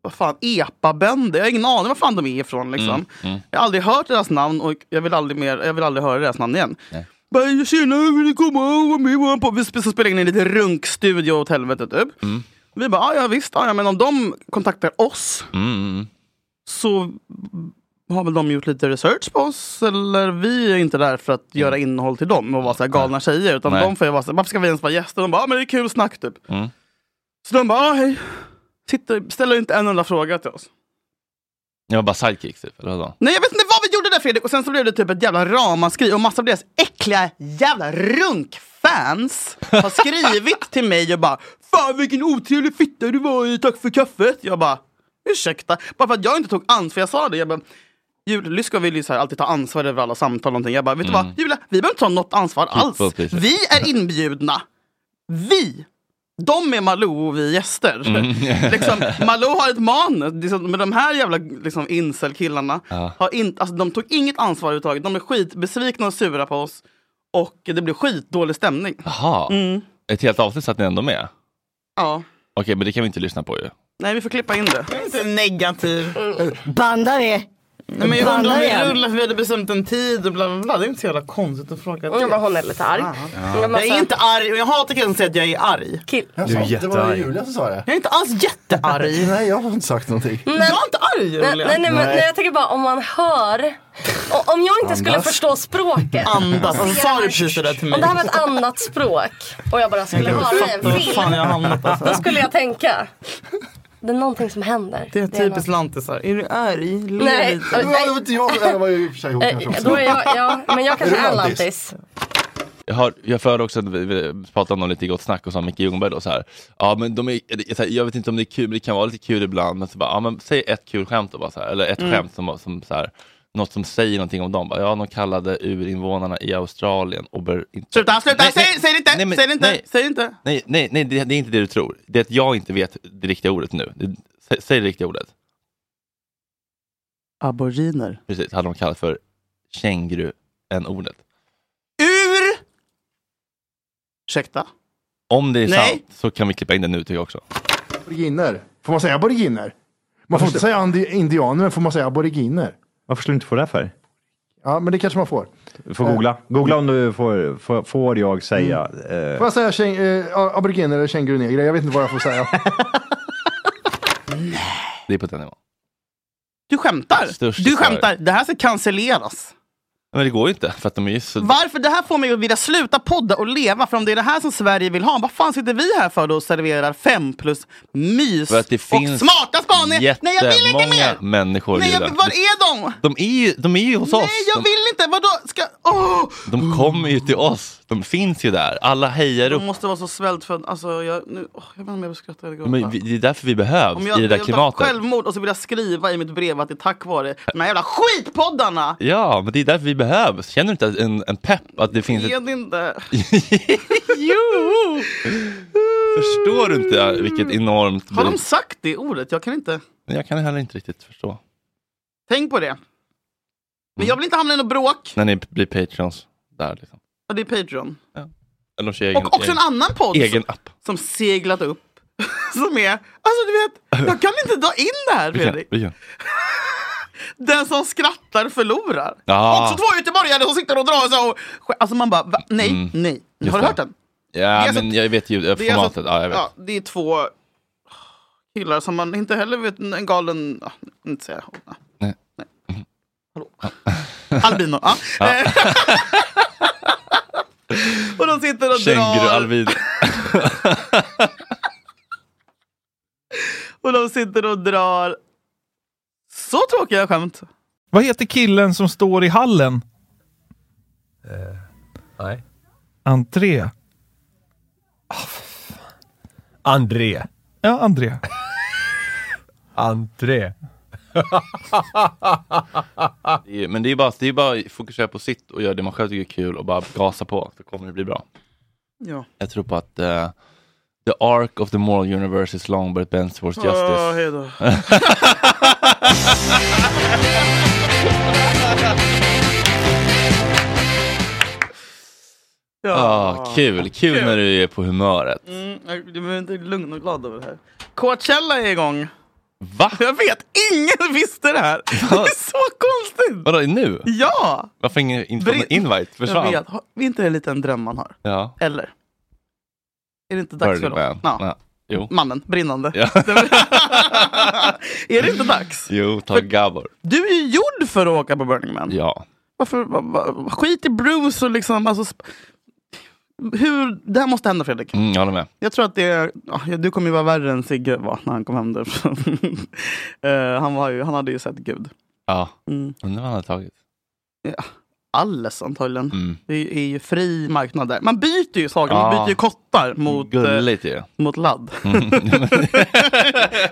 Speaker 2: vad fan, epabönder, jag har ingen aning var fan de är ifrån liksom.
Speaker 3: Mm, mm.
Speaker 2: Jag har aldrig hört deras namn och jag vill aldrig, mer, jag vill aldrig höra deras namn igen.
Speaker 3: Nej.
Speaker 2: Bara, Tjena, vill ni komma och vara med i våran podd? Vi sp- så spelade in i en liten runkstudio åt helvete typ.
Speaker 3: Mm.
Speaker 2: Vi bara, "Ah, ja visst, ah, ja, men om de kontaktar oss
Speaker 3: Mm, mm, mm.
Speaker 2: så har väl de gjort lite research på oss. Eller vi är inte där för att göra innehåll till dem och vara så här galna tjejer. Utan
Speaker 3: Mm. Nej.
Speaker 2: de får ju vara så här, varför ska vi ens vara gäster? De bara, "Ah, men det är kul snack typ.
Speaker 3: Mm.
Speaker 2: Så de bara, "Ah, hej. Sitter, ställer inte en enda fråga till oss.
Speaker 3: Jag var bara sidekicks typ, eller vadå?
Speaker 2: Nej jag vet inte vad vi gjorde där Fredrik och sen så blev det typ ett jävla ramaskri och massa av deras äckliga jävla runkfans
Speaker 3: [LAUGHS]
Speaker 2: har skrivit till mig och bara Fan vilken otrevlig fitta du var i, tack för kaffet. Jag bara ursäkta, bara för att jag inte tog ansvar. Jag sa det, jag bara Julia, Lyska vill ju så här alltid ta ansvar över alla samtal och någonting. Jag bara, vet du
Speaker 3: Mm. Typ
Speaker 2: vad Julia, vi behöver inte ta något ansvar alls.
Speaker 3: People pleaser.
Speaker 2: Vi är inbjudna. Vi! De är Malou och vi är gäster. [LAUGHS]
Speaker 3: Mm.
Speaker 2: liksom, Malou har ett manus, liksom, men de här jävla liksom, incel-killarna
Speaker 3: Ja.
Speaker 2: har inte, alltså, de tog inget ansvar överhuvudtaget. De är skitbesvikna och sura på oss. Och det blev skitdålig stämning.
Speaker 3: Jaha,
Speaker 2: Mm.
Speaker 3: ett helt avsnitt satt ni ändå med? Okej,
Speaker 2: Ja.
Speaker 3: men det kan vi inte lyssna på ju.
Speaker 2: Nej, vi får klippa in det.
Speaker 12: Inte negativ. Bandar vi.
Speaker 2: Nej, men jag undrar om vi
Speaker 12: Bandar
Speaker 2: rullar för vi hade bestämt en tid och bla bla bla. Det är inte så jävla konstigt att fråga
Speaker 12: Mm, men hon är lite arg.
Speaker 2: Fan.
Speaker 12: Ja. Men
Speaker 2: Jag
Speaker 12: alltså-
Speaker 2: är inte arg och jag hatar killen som säger att jag är arg. Kill.
Speaker 13: Jag sa- Du är det var jättearg. Julia som sa det.
Speaker 2: Jag är inte alls jättearg.
Speaker 13: Nej, jag har inte sagt [LAUGHS] någonting.
Speaker 2: jag är inte arg
Speaker 12: Nej,
Speaker 2: Julia.
Speaker 12: nej, nej, men, nej, jag tänker bara om man hör. O- Om jag inte skulle
Speaker 13: Andas.
Speaker 12: förstå språket.
Speaker 2: Andas, alltså, sa du precis det där till mig?
Speaker 12: Om det här var ett annat språk och jag bara skulle
Speaker 2: Jag
Speaker 12: höra i
Speaker 2: fattar
Speaker 12: en
Speaker 2: vad fan jag har
Speaker 12: film.
Speaker 2: hamnat alltså.
Speaker 12: Då skulle jag tänka. Det är någonting som händer.
Speaker 2: Det är typiskt
Speaker 12: något-
Speaker 2: lantisar. Är du arg? Le
Speaker 12: Nej,
Speaker 2: lite.
Speaker 12: eh, nej.
Speaker 13: Det var ju i och för sig hon
Speaker 12: Eh,
Speaker 13: kanske också.
Speaker 12: Då är jag, ja, men jag kanske
Speaker 13: Är du
Speaker 12: är
Speaker 13: lantis?
Speaker 12: lantis.
Speaker 3: Jag, hör, jag förde också att vi, vi pratade om dem lite i Gott Snack och sa Micke Ljungberg då så här. Ja men de är, det- så här, jag vet inte om det är kul, men det kan vara lite kul ibland. Men så bara, ja men säg ett kul skämt då bara så här, eller ett
Speaker 2: Mm.
Speaker 3: skämt som, som så här, något som säger någonting om dem. Bara, ja de kallade urinvånarna i Australien och bör inte...
Speaker 2: Sluta, sluta,
Speaker 3: Nej,
Speaker 2: säg,
Speaker 3: nej,
Speaker 2: säg det inte,
Speaker 3: nej, men-
Speaker 2: säg det inte,
Speaker 3: nej.
Speaker 2: säg det inte.
Speaker 3: Nej, nej, nej det, det är inte det du tror. Det är att jag inte vet det riktiga ordet nu. Det, sä, säg det riktiga ordet.
Speaker 2: Aboriginer.
Speaker 3: Precis, hade de kallat för känguru en ordet
Speaker 2: Ur! Ursäkta?
Speaker 3: Om det är
Speaker 2: Nej.
Speaker 3: sant så kan vi klippa in det nu tycker jag också.
Speaker 13: Aboriginer. Får man säga aboriginer? Man får inte säga andi- indianer, men får man säga aboriginer?
Speaker 14: Varför skulle du inte få det för?
Speaker 13: Ja, men det kanske man får.
Speaker 14: Du får
Speaker 13: Eh.
Speaker 14: googla. Googla om du får, får, får jag säga. eh,
Speaker 13: Får jag säga käng, eh, aboriginer eller kängurunegrer? Jag vet inte vad jag får säga.
Speaker 3: Det är på den nivån.
Speaker 2: Du skämtar?
Speaker 3: Störst
Speaker 2: du
Speaker 3: svar.
Speaker 2: skämtar? Det här ska cancelleras.
Speaker 3: Men det går ju inte för att de är ju så...
Speaker 2: Varför? Det här får mig att vilja sluta podda och leva. För om det är det här som Sverige vill ha, vad fan sitter vi här för då och serverar fem plus mys
Speaker 3: För att det finns
Speaker 2: och smarta spaningar? Nej, jag vill inte
Speaker 3: jättemånga
Speaker 2: mer!
Speaker 3: människor
Speaker 2: Nej, jag,
Speaker 3: Julia.
Speaker 2: var är de?
Speaker 3: de, är ju, de är ju hos oss.
Speaker 2: Nej, jag vill inte! Vadå? Ska... Åh!
Speaker 3: De, de kommer ju till oss. De finns ju där. Alla hejar upp.
Speaker 2: De måste vara så svältfödda. Alltså, jag, nu, åh, jag vet inte om jag vill skratta eller gråta.
Speaker 3: Men vi, det är därför vi behövs
Speaker 2: Om jag
Speaker 3: i det
Speaker 2: hade
Speaker 3: där
Speaker 2: gjort
Speaker 3: klimatet.
Speaker 2: självmord och så vill jag skriva i mitt brev att det är tack vare de här jävla skitpoddarna.
Speaker 3: Ja, men det är därför vi behövs. Känner du inte att en, en pepp? Att det finns ett...
Speaker 2: Vet inte.
Speaker 3: jo! Förstår du inte vilket enormt...
Speaker 2: Mm. Har de
Speaker 3: beroende-
Speaker 2: sagt det ordet? Jag kan inte.
Speaker 3: Jag kan heller inte riktigt förstå.
Speaker 2: Tänk på det. Men jag vill inte hamna i något bråk.
Speaker 3: När ni blir patreons där liksom.
Speaker 2: Och det är Patreon.
Speaker 3: Eller de kör egen,
Speaker 2: Och också en annan podd.
Speaker 3: Egen app.
Speaker 2: Som seglat upp. [LAUGHS] Som är, alltså du vet, jag kan inte dra in det här
Speaker 3: Vilken?
Speaker 2: Fredrik.
Speaker 3: Vilken?
Speaker 2: Den som skrattar förlorar.
Speaker 3: Ja.
Speaker 2: Också två göteborgare som sitter och drar så. och- Alltså man bara, va? nej,
Speaker 3: Mm.
Speaker 2: nej.
Speaker 3: Just
Speaker 2: Har du
Speaker 3: det.
Speaker 2: hört den?
Speaker 3: Ja,
Speaker 2: alltså-
Speaker 3: men jag vet ju
Speaker 2: Det är, alltså-
Speaker 3: formatet. Ja, jag vet.
Speaker 2: det är två killar som man inte heller vet, en galen, ja, inte säga. Nej.
Speaker 3: Nej.
Speaker 2: Hallå. Albino. Ja.
Speaker 3: Ja.
Speaker 2: [LAUGHS] och de sitter och
Speaker 3: Känguru
Speaker 2: drar.
Speaker 3: Alvin.
Speaker 2: Och de sitter och drar. Så tråkiga skämt.
Speaker 15: Vad heter killen som står i hallen?
Speaker 16: Eh, Nej.
Speaker 15: Entré.
Speaker 16: André.
Speaker 15: Ah, Ja, André.
Speaker 16: André.
Speaker 3: Det är- Men det är bara, det är bara att fokusera på sitt och göra det man själv tycker är kul och bara gasa på. Så kommer det bli bra.
Speaker 2: Ja.
Speaker 3: Jag tror på att eh, the arc of the moral universe is long but it bends towards justice.
Speaker 2: Åh,
Speaker 3: [LAUGHS]
Speaker 2: hej då.
Speaker 3: Ja, Ah, kul. kul! när du är på humöret.
Speaker 2: Mm, jag- du behöver inte vara lugn och glad över det här. Coachella är igång.
Speaker 3: Va?
Speaker 2: Jag vet, ingen [LAUGHS] visste det här. Det är så konstigt.
Speaker 3: Vadå, nu?
Speaker 2: Ja!
Speaker 3: Varför ingen inte någon invite? Försvann?
Speaker 2: Jag vet. Har- är inte det lite en dröm man har?
Speaker 3: Ja.
Speaker 2: Eller? Är det inte dags för
Speaker 3: Burning
Speaker 2: dem?
Speaker 3: Man.
Speaker 2: Ja. Mm.
Speaker 3: Ja. Jo.
Speaker 2: Mannen, brinnande. [LAUGHS]
Speaker 3: Ja.
Speaker 2: är det inte dags?
Speaker 3: Jo, ta Gabor.
Speaker 2: Du är ju gjord för att åka på Burning Man.
Speaker 3: Ja.
Speaker 2: Varför, va, va, skit i Bruce och liksom... Alltså, sp- hur, det här måste hända Fredrik.
Speaker 3: Mm, jag håller med.
Speaker 2: Jag tror att det är, ja, du kommer ju vara värre än Sigge var när han kom [LAUGHS] hem därifrån. Eh, han, var ju, han hade ju sett Gud.
Speaker 3: Ja. Undrar vad han har tagit.
Speaker 2: Ja. alles antagligen. Det är ju fri marknad där. Man byter ju saker, man
Speaker 3: Mm. Ja.
Speaker 2: byter ju kottar mot, eh,
Speaker 3: Gulligt ju. [LAUGHS]
Speaker 2: mot ladd.
Speaker 3: Mm.
Speaker 2: [LAUGHS]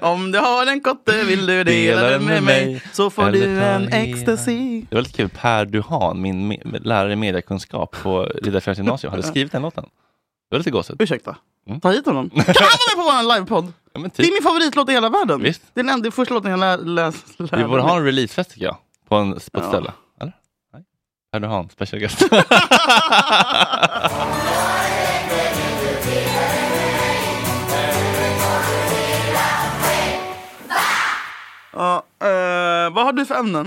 Speaker 2: Om du har en kotte vill du dela den med mig så får
Speaker 3: eller
Speaker 2: du
Speaker 3: ta
Speaker 2: en
Speaker 3: hela.
Speaker 2: ecstasy.
Speaker 3: Det var lite kul, Per Duhan, min me- lärare i mediekunskap på Riddarfjärds gymnasium, hade skrivit den låten. Det var lite gåshud.
Speaker 2: Ursäkta,
Speaker 3: Mm.
Speaker 2: ta
Speaker 3: [LAUGHS]
Speaker 2: hit honom. Kan han vara med på vår livepodd?
Speaker 3: typ.
Speaker 2: Det är min favoritlåt i hela världen.
Speaker 3: Visst.
Speaker 2: Det är den enda första låten jag lä- läst. Lä-
Speaker 3: Vi borde ha en releasefest tycker jag, på, en, på ett
Speaker 2: Ja.
Speaker 3: ställe. Eller? Nej. Per Duhan, special
Speaker 2: [LAUGHS]
Speaker 3: guest.
Speaker 2: Ja, eh, vad har du för ämnen?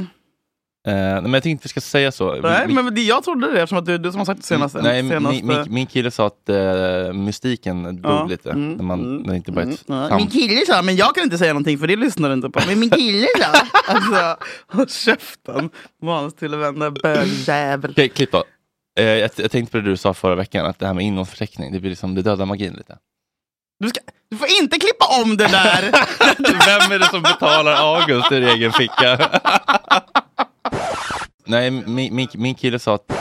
Speaker 3: Eh, nej, men jag tänkte vi ska säga så. Vi-
Speaker 2: Nej,
Speaker 3: vi-
Speaker 2: men det, jag trodde det eftersom att det är du som har sagt det senaste.
Speaker 3: Nej, min-
Speaker 2: senaste...
Speaker 3: Min, min, min kille sa att eh, mystiken dog
Speaker 2: Ja.
Speaker 3: lite.
Speaker 2: Mm.
Speaker 3: När man när det inte bara är ett
Speaker 2: Ja,
Speaker 3: skämt.
Speaker 2: Min kille sa, men jag kan inte säga någonting för det lyssnar du inte på. Men min kille sa, [LAUGHS] alltså, håll käften. Manustillvända bögjävel.
Speaker 3: Okej, klipp då. Eh, jag, jag tänkte på det du sa förra veckan, att det här med innehållsförteckning, det blir liksom, det dödar magin lite.
Speaker 2: Du, ska, du får inte klippa om det där!
Speaker 3: Vem är det som betalar August ur egen ficka? [LAUGHS] Nej, min, min, min kille sa att...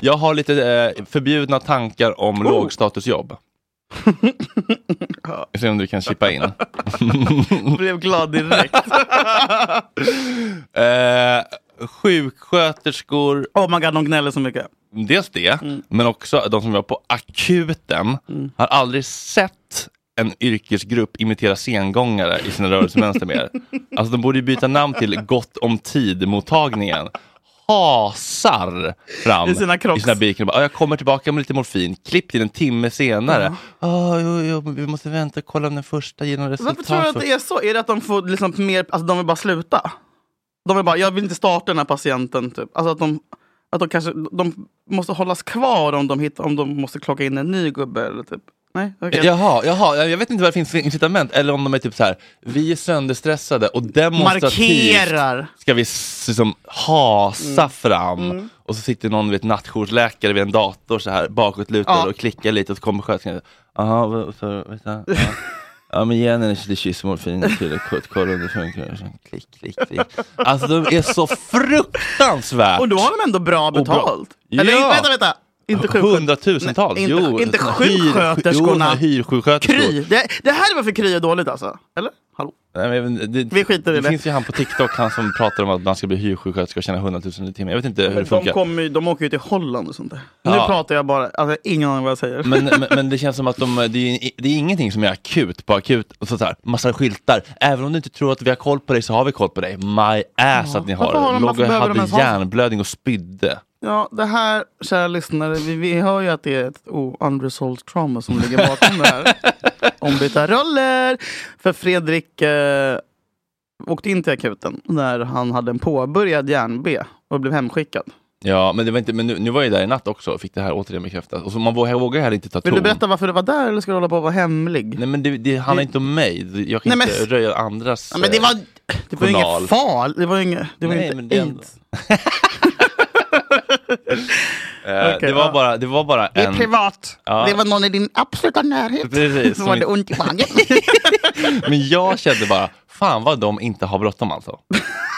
Speaker 3: Jag har lite eh, förbjudna tankar om [LAUGHS] lågstatusjobb. Vi får Se om du kan chippa in.
Speaker 2: [LAUGHS] Blev glad direkt.
Speaker 3: eh, sjuksköterskor.
Speaker 2: [LAUGHS] Oh my god, de gnäller så mycket.
Speaker 3: Dels det,
Speaker 2: Mm.
Speaker 3: men också de som jobbar på akuten har aldrig sett en yrkesgrupp imitera sengångare i sina rörelsemönster
Speaker 2: [LAUGHS]
Speaker 3: mer. Alltså de borde ju byta namn till Gott om tid-mottagningen. Hasar fram
Speaker 2: I sina Crocs.
Speaker 3: i sina biken. och bara, "Ja, Jag kommer tillbaka med lite morfin. Klipp till en timme senare. "Ja, jo, jo, men vi måste vänta och kolla om den första ger några resultat.
Speaker 2: Varför tror du att det är så? Är det att de får liksom mer, alltså de vill bara sluta? De vill bara, jag vill inte starta den här patienten typ. Alltså att de, att de kanske, de måste hållas kvar om de, hittar, om de måste klocka in en ny gubbe eller typ. Nej, okej.
Speaker 3: Jaha, jaha, jag vet inte vad det finns för incitament. Eller om de är typ så här, vi är sönderstressade och demonstrativt
Speaker 2: Markerar.
Speaker 3: ska vi s- liksom hasa
Speaker 2: Mm.
Speaker 3: fram.
Speaker 2: Mm.
Speaker 3: Och så sitter någon vet, nattjoursläkare vid en dator så här bakåtlutad
Speaker 2: Ja.
Speaker 3: och klickar lite och så kommer sköterskan. Jaha, vad- så, vänta.
Speaker 2: [LAUGHS]
Speaker 3: Ja. Ja men ge henne lite kyss morfin och kille, kort, kolla om det funkar. Så, Klick, klick, klick. Alltså de är så fruktansvärt
Speaker 2: Och då har de ändå bra
Speaker 3: Och bra-
Speaker 2: betalt. Eller
Speaker 3: Ja.
Speaker 2: vänta, vänta. Inte sjuksköterskor.
Speaker 3: hundratusentals.
Speaker 2: Nej, inte-
Speaker 3: jo,
Speaker 2: inte
Speaker 3: såna
Speaker 2: sjuksköterskorna.
Speaker 3: Hyr, jo, hyrsjuksköterskor.
Speaker 2: Kry. Det, det här var för Kry är dåligt alltså. Eller? Hallå?
Speaker 3: Nej, men det,
Speaker 2: Vi skiter i
Speaker 3: det
Speaker 2: det.
Speaker 3: finns ju han på TikTok, han som pratar om att man ska bli hyrsjuksköterska och tjäna 100 000 i timmen. Jag vet inte hur
Speaker 2: Men
Speaker 3: det
Speaker 2: de,
Speaker 3: funkar.
Speaker 2: kommer, ju- de åker ju till Holland och sånt där. Nu
Speaker 3: Ja.
Speaker 2: pratar jag bara, alltså ingen aning vad jag säger.
Speaker 3: Men, men, men det känns som att de, det, är, det är ingenting som är akut på akut. Och så så här, massa skyltar. Även om du inte tror att vi har koll på dig så har vi koll på dig. My ass att ni har
Speaker 2: Varför har de-
Speaker 3: det. Låg
Speaker 2: varför
Speaker 3: och
Speaker 2: behöver de ens
Speaker 3: hade
Speaker 2: ha-
Speaker 3: hjärnblödning och spydde.
Speaker 2: [LAUGHS] Ja, det här, kära lyssnare, vi, vi hör ju att det är ett oh, unresolved trauma som ligger bakom
Speaker 3: [LAUGHS]
Speaker 2: det här. Ombytta roller! För Fredrik eh, åkte in till akuten när han hade en påbörjad hjärn-B och blev hemskickad.
Speaker 3: Ja, men, det var inte, men nu, nu var jag där i natt också och fick det här återigen bekräftat. Och så man vågar, vågar här inte ta
Speaker 2: Vill
Speaker 3: ton.
Speaker 2: du berätta varför du var där eller ska du hålla på att vara hemlig?
Speaker 3: Nej, men det, det handlar inte om mig. Jag kan
Speaker 2: Nej, men-
Speaker 3: inte röja andras
Speaker 2: Ja, men det
Speaker 3: eh,
Speaker 2: var, det var ju
Speaker 3: journal.
Speaker 2: inget fal, det var ju inget, det var ju
Speaker 3: Nej,
Speaker 2: inte
Speaker 3: men det är
Speaker 2: aids. [LAUGHS]
Speaker 3: Eh,
Speaker 2: Okej,
Speaker 3: det, var
Speaker 2: ja.
Speaker 3: bara, det var bara
Speaker 2: Det
Speaker 3: en...
Speaker 2: är privat.
Speaker 3: Ja.
Speaker 2: Det var någon i din absoluta närhet.
Speaker 3: [LAUGHS] Precis,
Speaker 2: Som
Speaker 3: som
Speaker 2: hade
Speaker 3: inte-
Speaker 2: ont i
Speaker 3: [LAUGHS]
Speaker 2: magen.
Speaker 3: [LAUGHS] Men jag kände bara, fan vad de inte har bråttom alltså.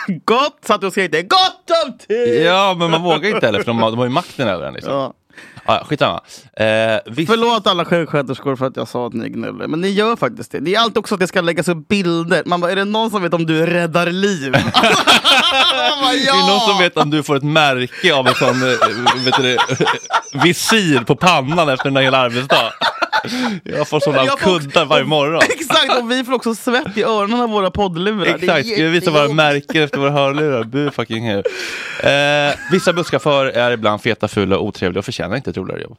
Speaker 2: [LAUGHS] Gott satt du och skrek. Gott om tid!
Speaker 3: Ja, men man vågar inte heller för de har, de har ju makten över en. Liksom.
Speaker 2: Ja.
Speaker 3: Ah, ja, skitsamma. Eh, visst, [LAUGHS]
Speaker 2: Förlåt alla sjuksköterskor för att jag sa att ni gnäller, men ni gör faktiskt det. Det är alltid också att det ska läggas upp bilder. Man bara, är det någon som vet om du räddar liv? [LAUGHS]
Speaker 3: Är det någon som vet om du får ett märke av en sån eh, vet du, det, [LAUGHS] visir på pannan efter en hel arbetsdag? [LAUGHS] Jag får sådana
Speaker 2: Jag får också-
Speaker 3: kuddar varje morgon.
Speaker 2: [LAUGHS] Exakt, och vi får också svett i öronen av våra poddlurar. Det är
Speaker 3: Exakt, ska vi visa våra
Speaker 2: jättejobbigt.
Speaker 3: märken efter våra hörlurar? Bu fucking hell. Eh, vissa busschaufförer är ibland feta, fula och otrevliga och förtjänar inte ett roligare jobb.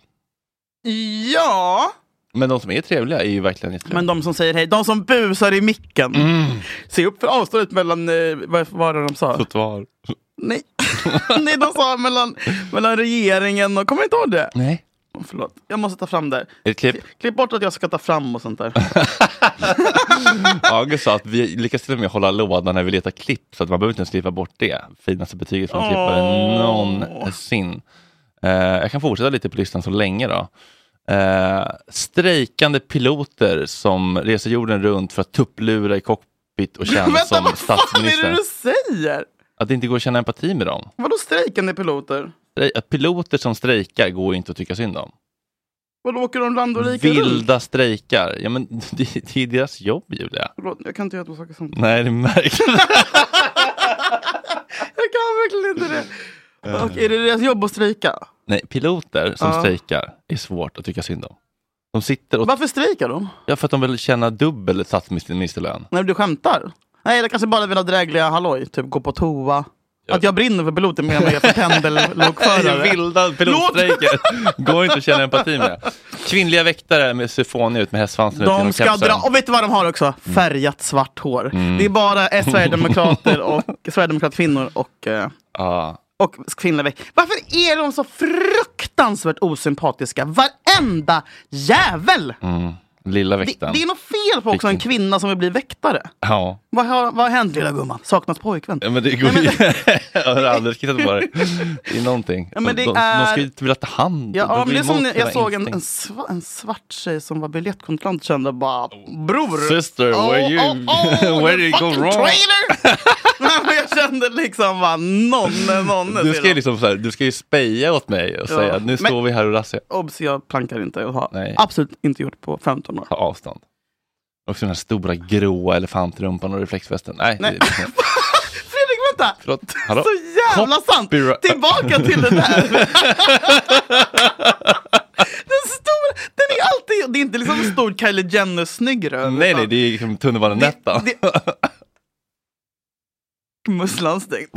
Speaker 2: Ja,
Speaker 3: Men de som är trevliga är ju verkligen jättetrevliga.
Speaker 2: men de som säger hej, de som busar i micken.
Speaker 3: Mm.
Speaker 2: Se upp för avståndet mellan, eh, vad vad var det de sa?
Speaker 3: Trottoar.
Speaker 2: Nej, [LAUGHS] Nej de sa mellan, mellan regeringen och, kommer du inte ihåg det?
Speaker 3: Nej.
Speaker 2: Förlåt, jag måste ta fram det.
Speaker 3: Är det klipp?
Speaker 2: Klipp bort att jag ska ta fram och sånt
Speaker 3: [LAUGHS]
Speaker 2: där.
Speaker 3: August sa att vi lyckas till och med hålla låda när vi letar klipp så att man behöver inte ens skriva bort det. Finaste betyget från klippare
Speaker 2: Åh.
Speaker 3: någonsin. Eh, jag kan fortsätta lite på listan så länge då. Eh, strejkande piloter som reser jorden runt för att tupplura i cockpit och tjäna
Speaker 2: [LAUGHS] Vänta,
Speaker 3: som
Speaker 2: vad fan är det
Speaker 3: statsminister.
Speaker 2: du säger?
Speaker 3: Att Att det inte går att känna empati med dem.
Speaker 2: Vadå strejkande piloter?
Speaker 3: Strej- Att piloter som strejkar går ju inte att tycka synd om.
Speaker 2: Vadå åker de land och rike runt?
Speaker 3: Vilda strejkar. Ja, men [LAUGHS] det, det är deras jobb, Julia.
Speaker 2: Förlåt, jag kan inte göra två saker samtidigt.
Speaker 3: Nej, det märks.
Speaker 2: Jag kan verkligen inte
Speaker 3: [LAUGHS]
Speaker 2: det. Och är det deras jobb att strejka?
Speaker 3: [LAUGHS] Nej, piloter som
Speaker 2: Ja.
Speaker 3: strejkar är svårt att tycka synd om. De sitter och...
Speaker 2: Varför strejkar de?
Speaker 3: Ja, för att de vill tjäna dubbel statsministerlön.
Speaker 2: Nej, du skämtar? Nej, det kanske bara vill ha drägliga halloj, typ gå på toa. Att jag brinner för piloten mer än vad jag är
Speaker 3: [LAUGHS]
Speaker 2: för pendellokförare.
Speaker 3: Vilda
Speaker 2: [LAUGHS]
Speaker 3: pilotstrejker. Går inte att känna empati med. Kvinnliga väktare med symfoni ut med hästsvansen ut genom
Speaker 2: De ska
Speaker 3: kepsen.
Speaker 2: dra, och vet du vad de har också? Färgat svart hår.
Speaker 3: Mm.
Speaker 2: Det är
Speaker 3: [LAUGHS]
Speaker 2: bara eh, Sverigedemokrater och Sverigedemokratkvinnor och, eh,
Speaker 3: Ja.
Speaker 2: och kvinnliga väktare. Varför är de så fruktansvärt osympatiska? Varenda jävel!
Speaker 3: Mm. Lilla
Speaker 2: Det,
Speaker 3: väktaren.
Speaker 2: det är något fel på också en kvinna som vill bli väktare.
Speaker 3: Ja.
Speaker 2: Vad har, vad har hänt lilla gumman? Saknas pojkvän?
Speaker 3: Ja, men det går ju... [LAUGHS] jag har aldrig skrattat på det. Det är någonting.
Speaker 2: Ja, men det
Speaker 3: de, de, de
Speaker 2: är-
Speaker 3: ska ju inte vilja ta hand
Speaker 2: Ja,
Speaker 3: De
Speaker 2: ja, men
Speaker 3: blir
Speaker 2: det är som
Speaker 3: emot
Speaker 2: när
Speaker 3: sina
Speaker 2: jag såg en, en,
Speaker 3: instinkt.
Speaker 2: sva, en svart tjej som var biljettkontrollant och kände bara bror.
Speaker 3: Oh.
Speaker 2: oh,
Speaker 3: Sister, where you- [LAUGHS] where you go
Speaker 2: fucking
Speaker 3: wrong?"
Speaker 2: Trailer! [LAUGHS] Nej, men jag kände liksom bara nonne, nonne.
Speaker 3: Du
Speaker 2: säger
Speaker 3: ska ju
Speaker 2: de.
Speaker 3: liksom så här, du ska ju speja åt mig och
Speaker 2: Ja,
Speaker 3: säga nu
Speaker 2: men-
Speaker 3: står vi här och razziar.
Speaker 2: Obs, jag plankar inte. Jag har
Speaker 3: Nej.
Speaker 2: absolut inte gjort på
Speaker 3: [LAUGHS]
Speaker 2: 15 år.
Speaker 3: Ta avstånd. Också den här stora gråa elefantrumpan och reflexvästen. Nej.
Speaker 2: Nej.
Speaker 3: det är- liksom-
Speaker 2: [LAUGHS] Fredrik, vänta!
Speaker 3: Förlåt. Hallå?
Speaker 2: Så jävla sant!
Speaker 3: Copyright.
Speaker 2: Tillbaka till
Speaker 3: [LAUGHS]
Speaker 2: den där. den stora, den är alltid, det är inte liksom en stor Kylie Jenner-snygg röv.
Speaker 3: Nej, nej, det är liksom tunnelbanenätta.
Speaker 2: Musslan stängd. [LAUGHS]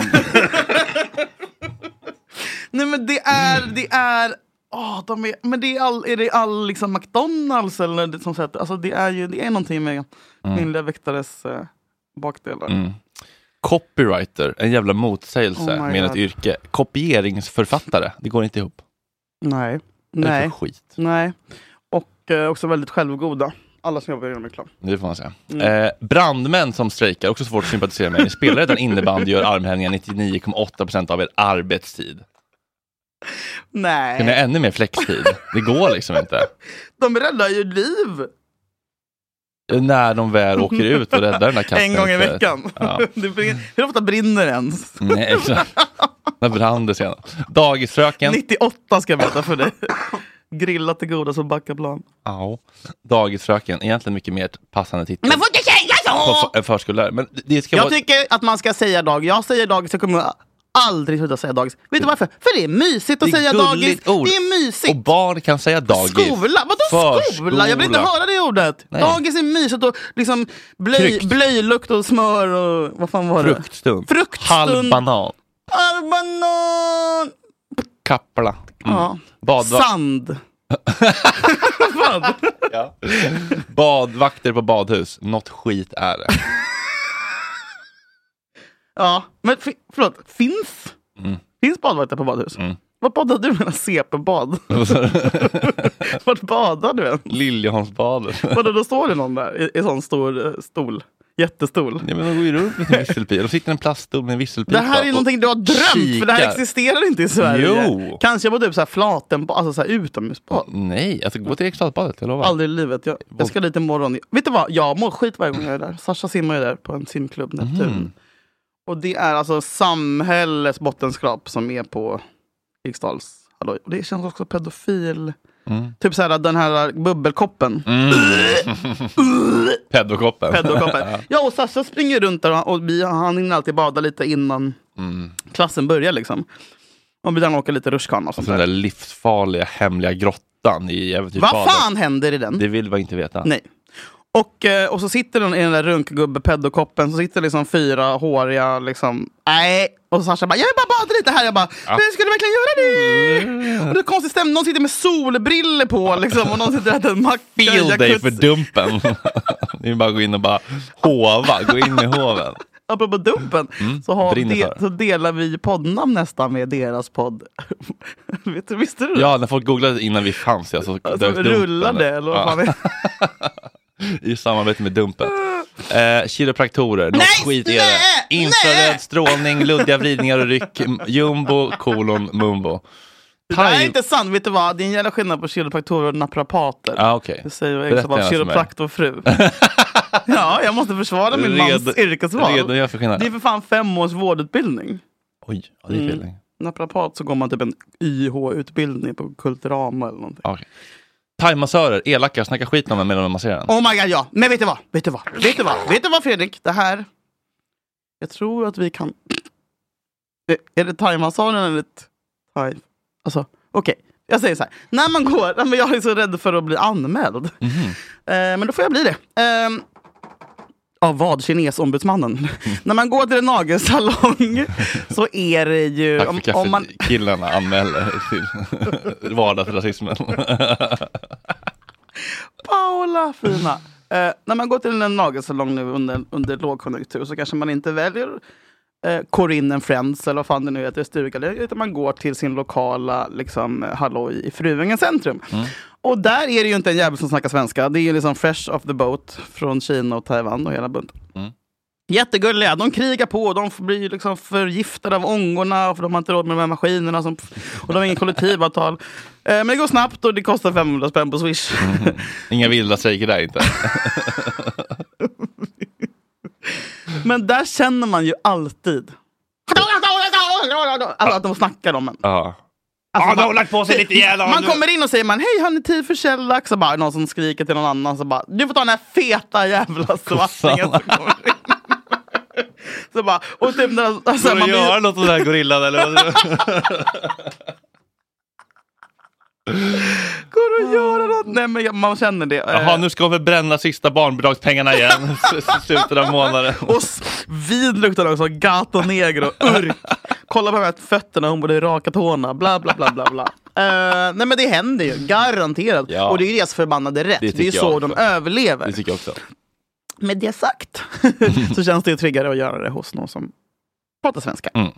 Speaker 2: Nej men det är, det är, åh, de är, men det är all, är det all liksom McDonalds eller det som sätter, alltså det är ju, det är någonting med
Speaker 3: Mm.
Speaker 2: kvinnliga väktares eh, bakdelar.
Speaker 3: Mm. Copywriter, en jävla motsägelse
Speaker 2: Oh my
Speaker 3: med
Speaker 2: God.
Speaker 3: ett yrke. Kopieringsförfattare, det går inte ihop.
Speaker 2: Nej.
Speaker 3: Det är
Speaker 2: Nej.
Speaker 3: för skit.
Speaker 2: Nej. Och eh, också väldigt självgoda. Alla som jobbar inom reklam.
Speaker 3: Det får man säga.
Speaker 2: Mm.
Speaker 3: Eh, brandmän som strejkar, också svårt att sympatisera med. Ni spelar utan innebandy gör armhävningar 99,8% av er arbetstid.
Speaker 2: Nej.
Speaker 3: Kan ni ha ännu mer flextid? Det går liksom inte.
Speaker 2: De räddar ju liv!
Speaker 3: Eh, När de väl åker ut och räddar den där katten.
Speaker 2: en gång i
Speaker 3: inte-
Speaker 2: veckan.
Speaker 3: Ja.
Speaker 2: [LAUGHS] Det brinner, hur ofta brinner det ens?
Speaker 3: Nej, exakt. När brann det senast. Dagisfröken.
Speaker 2: 98 ska jag berätta för dig. Grilla till goda så Backaplan.
Speaker 3: Ja. Dagisfröken, egentligen mycket mer ett passande titel.
Speaker 2: Men får inte säga
Speaker 3: På
Speaker 2: så!
Speaker 3: f- en förskollärare. Men det ska
Speaker 2: Jag
Speaker 3: vara...
Speaker 2: tycker att man ska säga dagis. Jag säger dagis, jag kommer aldrig sluta säga dagis. Vet du varför? För det är mysigt att
Speaker 3: Det är
Speaker 2: säga dagis.
Speaker 3: gulligt ord.
Speaker 2: Det är
Speaker 3: Och
Speaker 2: mysigt.
Speaker 3: barn kan säga dagis.
Speaker 2: Skola? Vadå skola? Jag vill inte
Speaker 3: Förskola.
Speaker 2: höra det ordet.
Speaker 3: Nej.
Speaker 2: Dagis är mysigt och liksom blöj,
Speaker 3: Tryggt.
Speaker 2: blöjlukt och smör och vad fan var det?
Speaker 3: Fruktstund.
Speaker 2: Fruktstund.
Speaker 3: Halv banan.
Speaker 2: Halv banan.
Speaker 3: Kappla. Mm.
Speaker 2: Ja.
Speaker 3: Badva-
Speaker 2: Sand.
Speaker 3: Badvakter på badhus. Något skit är
Speaker 2: [LAUGHS]
Speaker 3: det.
Speaker 2: Ja, men fi- förlåt, finns?
Speaker 3: Mm.
Speaker 2: Finns badvakter på badhus?
Speaker 3: Mm.
Speaker 2: Vad badar du
Speaker 3: [LAUGHS]
Speaker 2: med? CP-bad? Vart badar du än?
Speaker 3: Liljeholmsbadet.
Speaker 2: Vadå, då står det någon där i, i sån stor eh, stol? Jättestol.
Speaker 3: Nej, men de går ju runt
Speaker 2: [LAUGHS]
Speaker 3: med sin visselpipa. De sitter i en plaststol med en visselpipa.
Speaker 2: Det här är
Speaker 3: och
Speaker 2: någonting du har drömt, för det här
Speaker 3: kikar.
Speaker 2: existerar inte i Sverige.
Speaker 3: Jo.
Speaker 2: Kanske på typ så här flatenbad, alltså så här utomhusbad.
Speaker 3: Nej, alltså gå till Eriksdalsbadet, jag lovar.
Speaker 2: Aldrig i livet. Jag, jag ska dit imorgon. Vet du vad, jag mår skit varje gång jag är där. Sasha simmar ju där på en simklubb, Neptun.
Speaker 3: Mm.
Speaker 2: Och det är alltså samhällets bottenskrap som är på Eriksdals halloj. Och det känns också pedofil.
Speaker 3: Mm.
Speaker 2: Typ så här, den här bubbelkoppen.
Speaker 3: Mm.
Speaker 2: [LAUGHS]
Speaker 3: Pedokoppen.
Speaker 2: Pedokoppen. ja, och Sasha springer runt där och vi, han hinner alltid bada lite innan
Speaker 3: Mm.
Speaker 2: klassen börjar. liksom. Och vi han åker lite rutschkana
Speaker 3: [LAUGHS]
Speaker 2: och
Speaker 3: Och
Speaker 2: sånt
Speaker 3: så den där
Speaker 2: där.
Speaker 3: livsfarliga hemliga grottan i äventyrsbadet.
Speaker 2: Vad fan händer i den?
Speaker 3: Det vill man inte veta.
Speaker 2: Nej. Och, eh, och så sitter den i den där runkgubbe-peddokoppen, så sitter liksom fyra håriga liksom, nej. Och Sasha bara, jag vill bara bada lite här. Jag bara,
Speaker 3: Ja. Mm.
Speaker 2: men ska du verkligen göra det? Och det är konstig stämning, någon sitter med solbriller på liksom, och någon sitter och äter en macka. i
Speaker 3: Feel dig
Speaker 2: jacuzzi.
Speaker 3: för dumpen.
Speaker 2: [LAUGHS]
Speaker 3: det är bara att gå in och bara hova, gå in i hoven.
Speaker 2: Apropå dumpen, så, har
Speaker 3: Mm. brinner
Speaker 2: de,
Speaker 3: för.
Speaker 2: så delar vi poddnamn nästan med deras podd. [LAUGHS] Vet du- Visste du det?
Speaker 3: Ja, när folk googlade innan vi fanns, ja, så
Speaker 2: Alltså,
Speaker 3: dök Dumpen
Speaker 2: rullade
Speaker 3: upp.
Speaker 2: eller vad fan är
Speaker 3: [LAUGHS]
Speaker 2: det?
Speaker 3: I samarbete med Dumpen. Eh, kiropraktorer, något skit är det. Infraröd strålning, luddiga vridningar och ryck, m- jumbo, kolon, mumbo.
Speaker 2: Det där är inte sant. Vet du vad? Det är en jävla skillnad på kiropraktorer och naprapater.
Speaker 3: Ja, okej.
Speaker 2: Det säger jag
Speaker 3: Berätta
Speaker 2: också bara
Speaker 3: gärna för mig.
Speaker 2: kiropraktorfru. ja, jag måste försvara min mans
Speaker 3: Red-
Speaker 2: yrkesval.
Speaker 3: redogör för skillnaden.
Speaker 2: Det är för fan fem års vårdutbildning.
Speaker 3: Oj, ja, det är fel
Speaker 2: Mm.
Speaker 3: länge.
Speaker 2: Naprapat så går man typ en YH-utbildning på Kulturama eller någonting.
Speaker 3: Ja, okej. Thaimassörer, elaka, snackar skit om en medan de masserar en.
Speaker 2: Oh my god ja! Men vet du vad? Vet du vad? Vet du vad? Vet du vad Fredrik? Det här. Jag tror att vi kan. Det, är det thaimassaren eller ett thai? Alltså okej. Jag säger så här. När man går. Nej, men jag är så rädd för att bli anmäld.
Speaker 3: Mhm.
Speaker 2: Eh, men då får jag bli det. Ehm, av vad? Kinesombudsmannen.
Speaker 3: Mm.
Speaker 2: När man går till en nagelsalong så är det ju...
Speaker 3: Tack för
Speaker 2: Om, om
Speaker 3: kaffet,
Speaker 2: man,
Speaker 3: killarna anmäler till [LAUGHS]
Speaker 2: [LAUGHS]
Speaker 3: vardagsrasismen.
Speaker 2: Paula, fina. Eh, när man går till en nagelsalong nu under, under lågkonjunktur så kanske man inte väljer eh, Corinne and Friends eller vad fan det nu heter, Sturegallerian, utan man går till sin lokala liksom, eh, halloj i Fruängens centrum. Och där är det ju inte en jävel som snackar svenska. Det är ju liksom fresh off the boat från Kina och Taiwan och hela bunten.
Speaker 3: Mm.
Speaker 2: Jättegulliga, de krigar på, de får- blir ju liksom förgiftade av ångorna för de har inte råd med de här maskinerna som, och de har inget kollektivavtal. Eh, Men det går snabbt och det kostar 500 spänn på Swish.
Speaker 3: Inga vilda strejker där inte.
Speaker 2: Alltså, Men där känner man ju alltid alltså att de snackar om en.
Speaker 3: Ja.
Speaker 2: Alltså,
Speaker 3: Ja, de har
Speaker 2: man-
Speaker 3: lagt på sig lite jävla-
Speaker 2: Man kommer in och säger man, hej har ni tid för shellax? Och bara någon som skriker till någon annan så bara, du får ta den här feta jävla svartingen som kommer in. Så bara, och typ när, alltså,
Speaker 3: Går det att
Speaker 2: blir-
Speaker 3: göra något åt den här gorillan eller? Vad?
Speaker 2: Går det att göra något? Nej men jag- man känner det. Eh,
Speaker 3: Jaha, nu ska vi bränna sista barnbidragspengarna [LAUGHS] igen i slutet av månaden.
Speaker 2: Och s- vid luktar det också gato negro, urk. Kolla på de här fötterna, hon borde raka tårna, bla bla bla bla bla. Eh, nej men det händer ju, garanterat.
Speaker 3: Ja.
Speaker 2: Och det är ju deras förbannade rätt.
Speaker 3: Det
Speaker 2: Det, är ju
Speaker 3: tycker
Speaker 2: så
Speaker 3: jag
Speaker 2: de
Speaker 3: också.
Speaker 2: överlever.
Speaker 3: Det tycker jag också.
Speaker 2: Med det sagt [LAUGHS] så känns det ju tryggare att göra det hos någon som pratar svenska.
Speaker 3: Mm.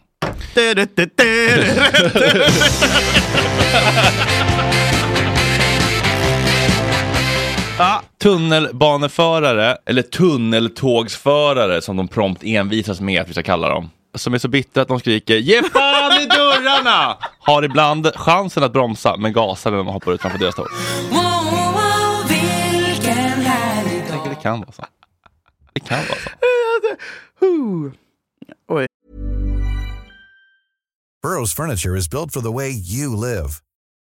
Speaker 3: Tunnelbaneförare, eller tunneltågsförare som de prompt envisas med att vi ska kalla dem. Som är så bittra att de skriker ge fan i dörrarna! Har ibland chansen att bromsa men gasar när de hoppar ut framför deras tåg.
Speaker 9: Wow, wow, vilken härlig dag.
Speaker 3: Det kan vara så. Det kan vara så.
Speaker 2: Huh.
Speaker 17: Burrow's furniture is built for the way you live.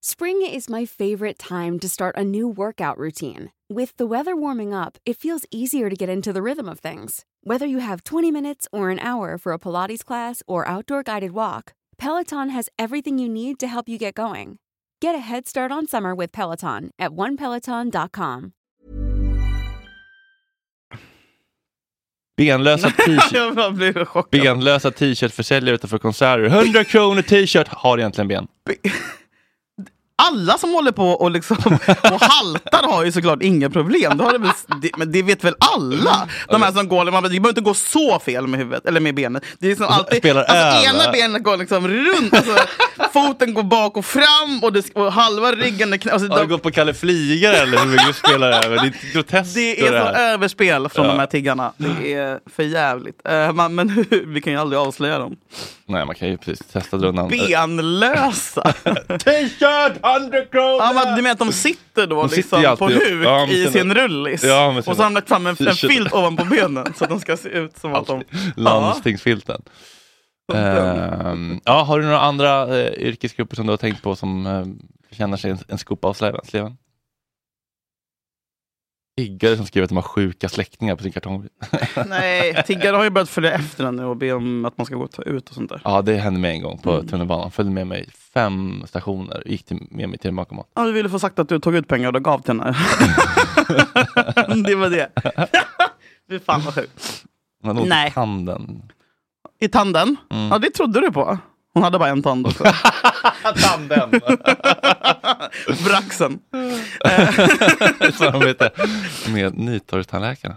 Speaker 1: Spring is my favorite time to start a new workout routine. With the weather warming up, it feels easier to get into the rhythm of things. Whether you have 20 minutes or an hour for a Pilates class or outdoor guided walk, Peloton has everything you need to help you get going. Get a head start on summer with Peloton at onepeloton.com.
Speaker 3: Benlösa [LAUGHS] t-shirt.
Speaker 2: [LAUGHS] Jag blir chockad.
Speaker 3: Benlösa t-shirtförsäljare utanför konserter. 100 kronor t-shirt har egentligen ben.
Speaker 2: Alla som håller på
Speaker 3: [LAUGHS]
Speaker 2: och, liksom, och haltar har ju såklart inga problem. Det har det väl, det, men det vet väl alla? De
Speaker 3: Alltså-
Speaker 2: här som går, man det behöver inte gå så fel med huvudet eller med benet. Det är som alltid,
Speaker 3: Spelar
Speaker 2: alltså,
Speaker 3: över.
Speaker 2: ena benet går liksom runt, alltså, foten går bak och fram och, det, och halva ryggen är knä, alltså,
Speaker 3: Har du
Speaker 2: de,
Speaker 3: gått på Kalle Fligare eller hur mycket spelar över? Det är groteskt
Speaker 2: Det är så
Speaker 3: här.
Speaker 2: överspel från
Speaker 3: Ja.
Speaker 2: de här tiggarna. Det är för jävligt. Eh, man, men [LAUGHS] vi kan ju aldrig avslöja dem.
Speaker 3: Nej, man kan ju precis testa Eh, rundan.
Speaker 2: Benlösa!
Speaker 3: T-shirt, underkroner!
Speaker 2: Ja, men du menar att de sitter då
Speaker 3: De sitter
Speaker 2: liksom
Speaker 3: ju
Speaker 2: på
Speaker 3: alltid-
Speaker 2: huk
Speaker 3: ja, med
Speaker 2: i
Speaker 3: sina-
Speaker 2: sin rullis?
Speaker 3: Ja, med
Speaker 2: och så
Speaker 3: sina
Speaker 2: har de lagt fram en, en
Speaker 3: t-shirt.
Speaker 2: filt ovanpå benen så att de ska se ut som att de...
Speaker 3: Landstingsfilten. Ehm, ja, har du några andra eh, yrkesgrupper som du har tänkt på som eh, känner sig en, en skopa av sleven? sleven? Tiggare som skriver att de har sjuka släktingar på sin kartong.
Speaker 2: Nej, tiggare har ju börjat följa efter den nu och be om att man ska gå och ta ut och sånt där.
Speaker 3: Ja, det hände mig en gång
Speaker 2: Mm.
Speaker 3: på tunnelbanan. Följde med mig fem stationer. Gick till, med mig till en bankomat.
Speaker 2: Ja, du ville få sagt att du tog ut pengar och gav till henne. [LAUGHS] det var det. [LAUGHS] Fy fan vad sjukt.
Speaker 3: Man åt
Speaker 2: Nej.
Speaker 3: i tanden.
Speaker 2: I tanden?
Speaker 3: Mm.
Speaker 2: Ja, det trodde du på. Hon hade bara en
Speaker 3: [LAUGHS]
Speaker 2: tand också.
Speaker 3: tanden!
Speaker 2: Braxen.
Speaker 3: [LAUGHS] Samarbete med Nytorgstandläkarna.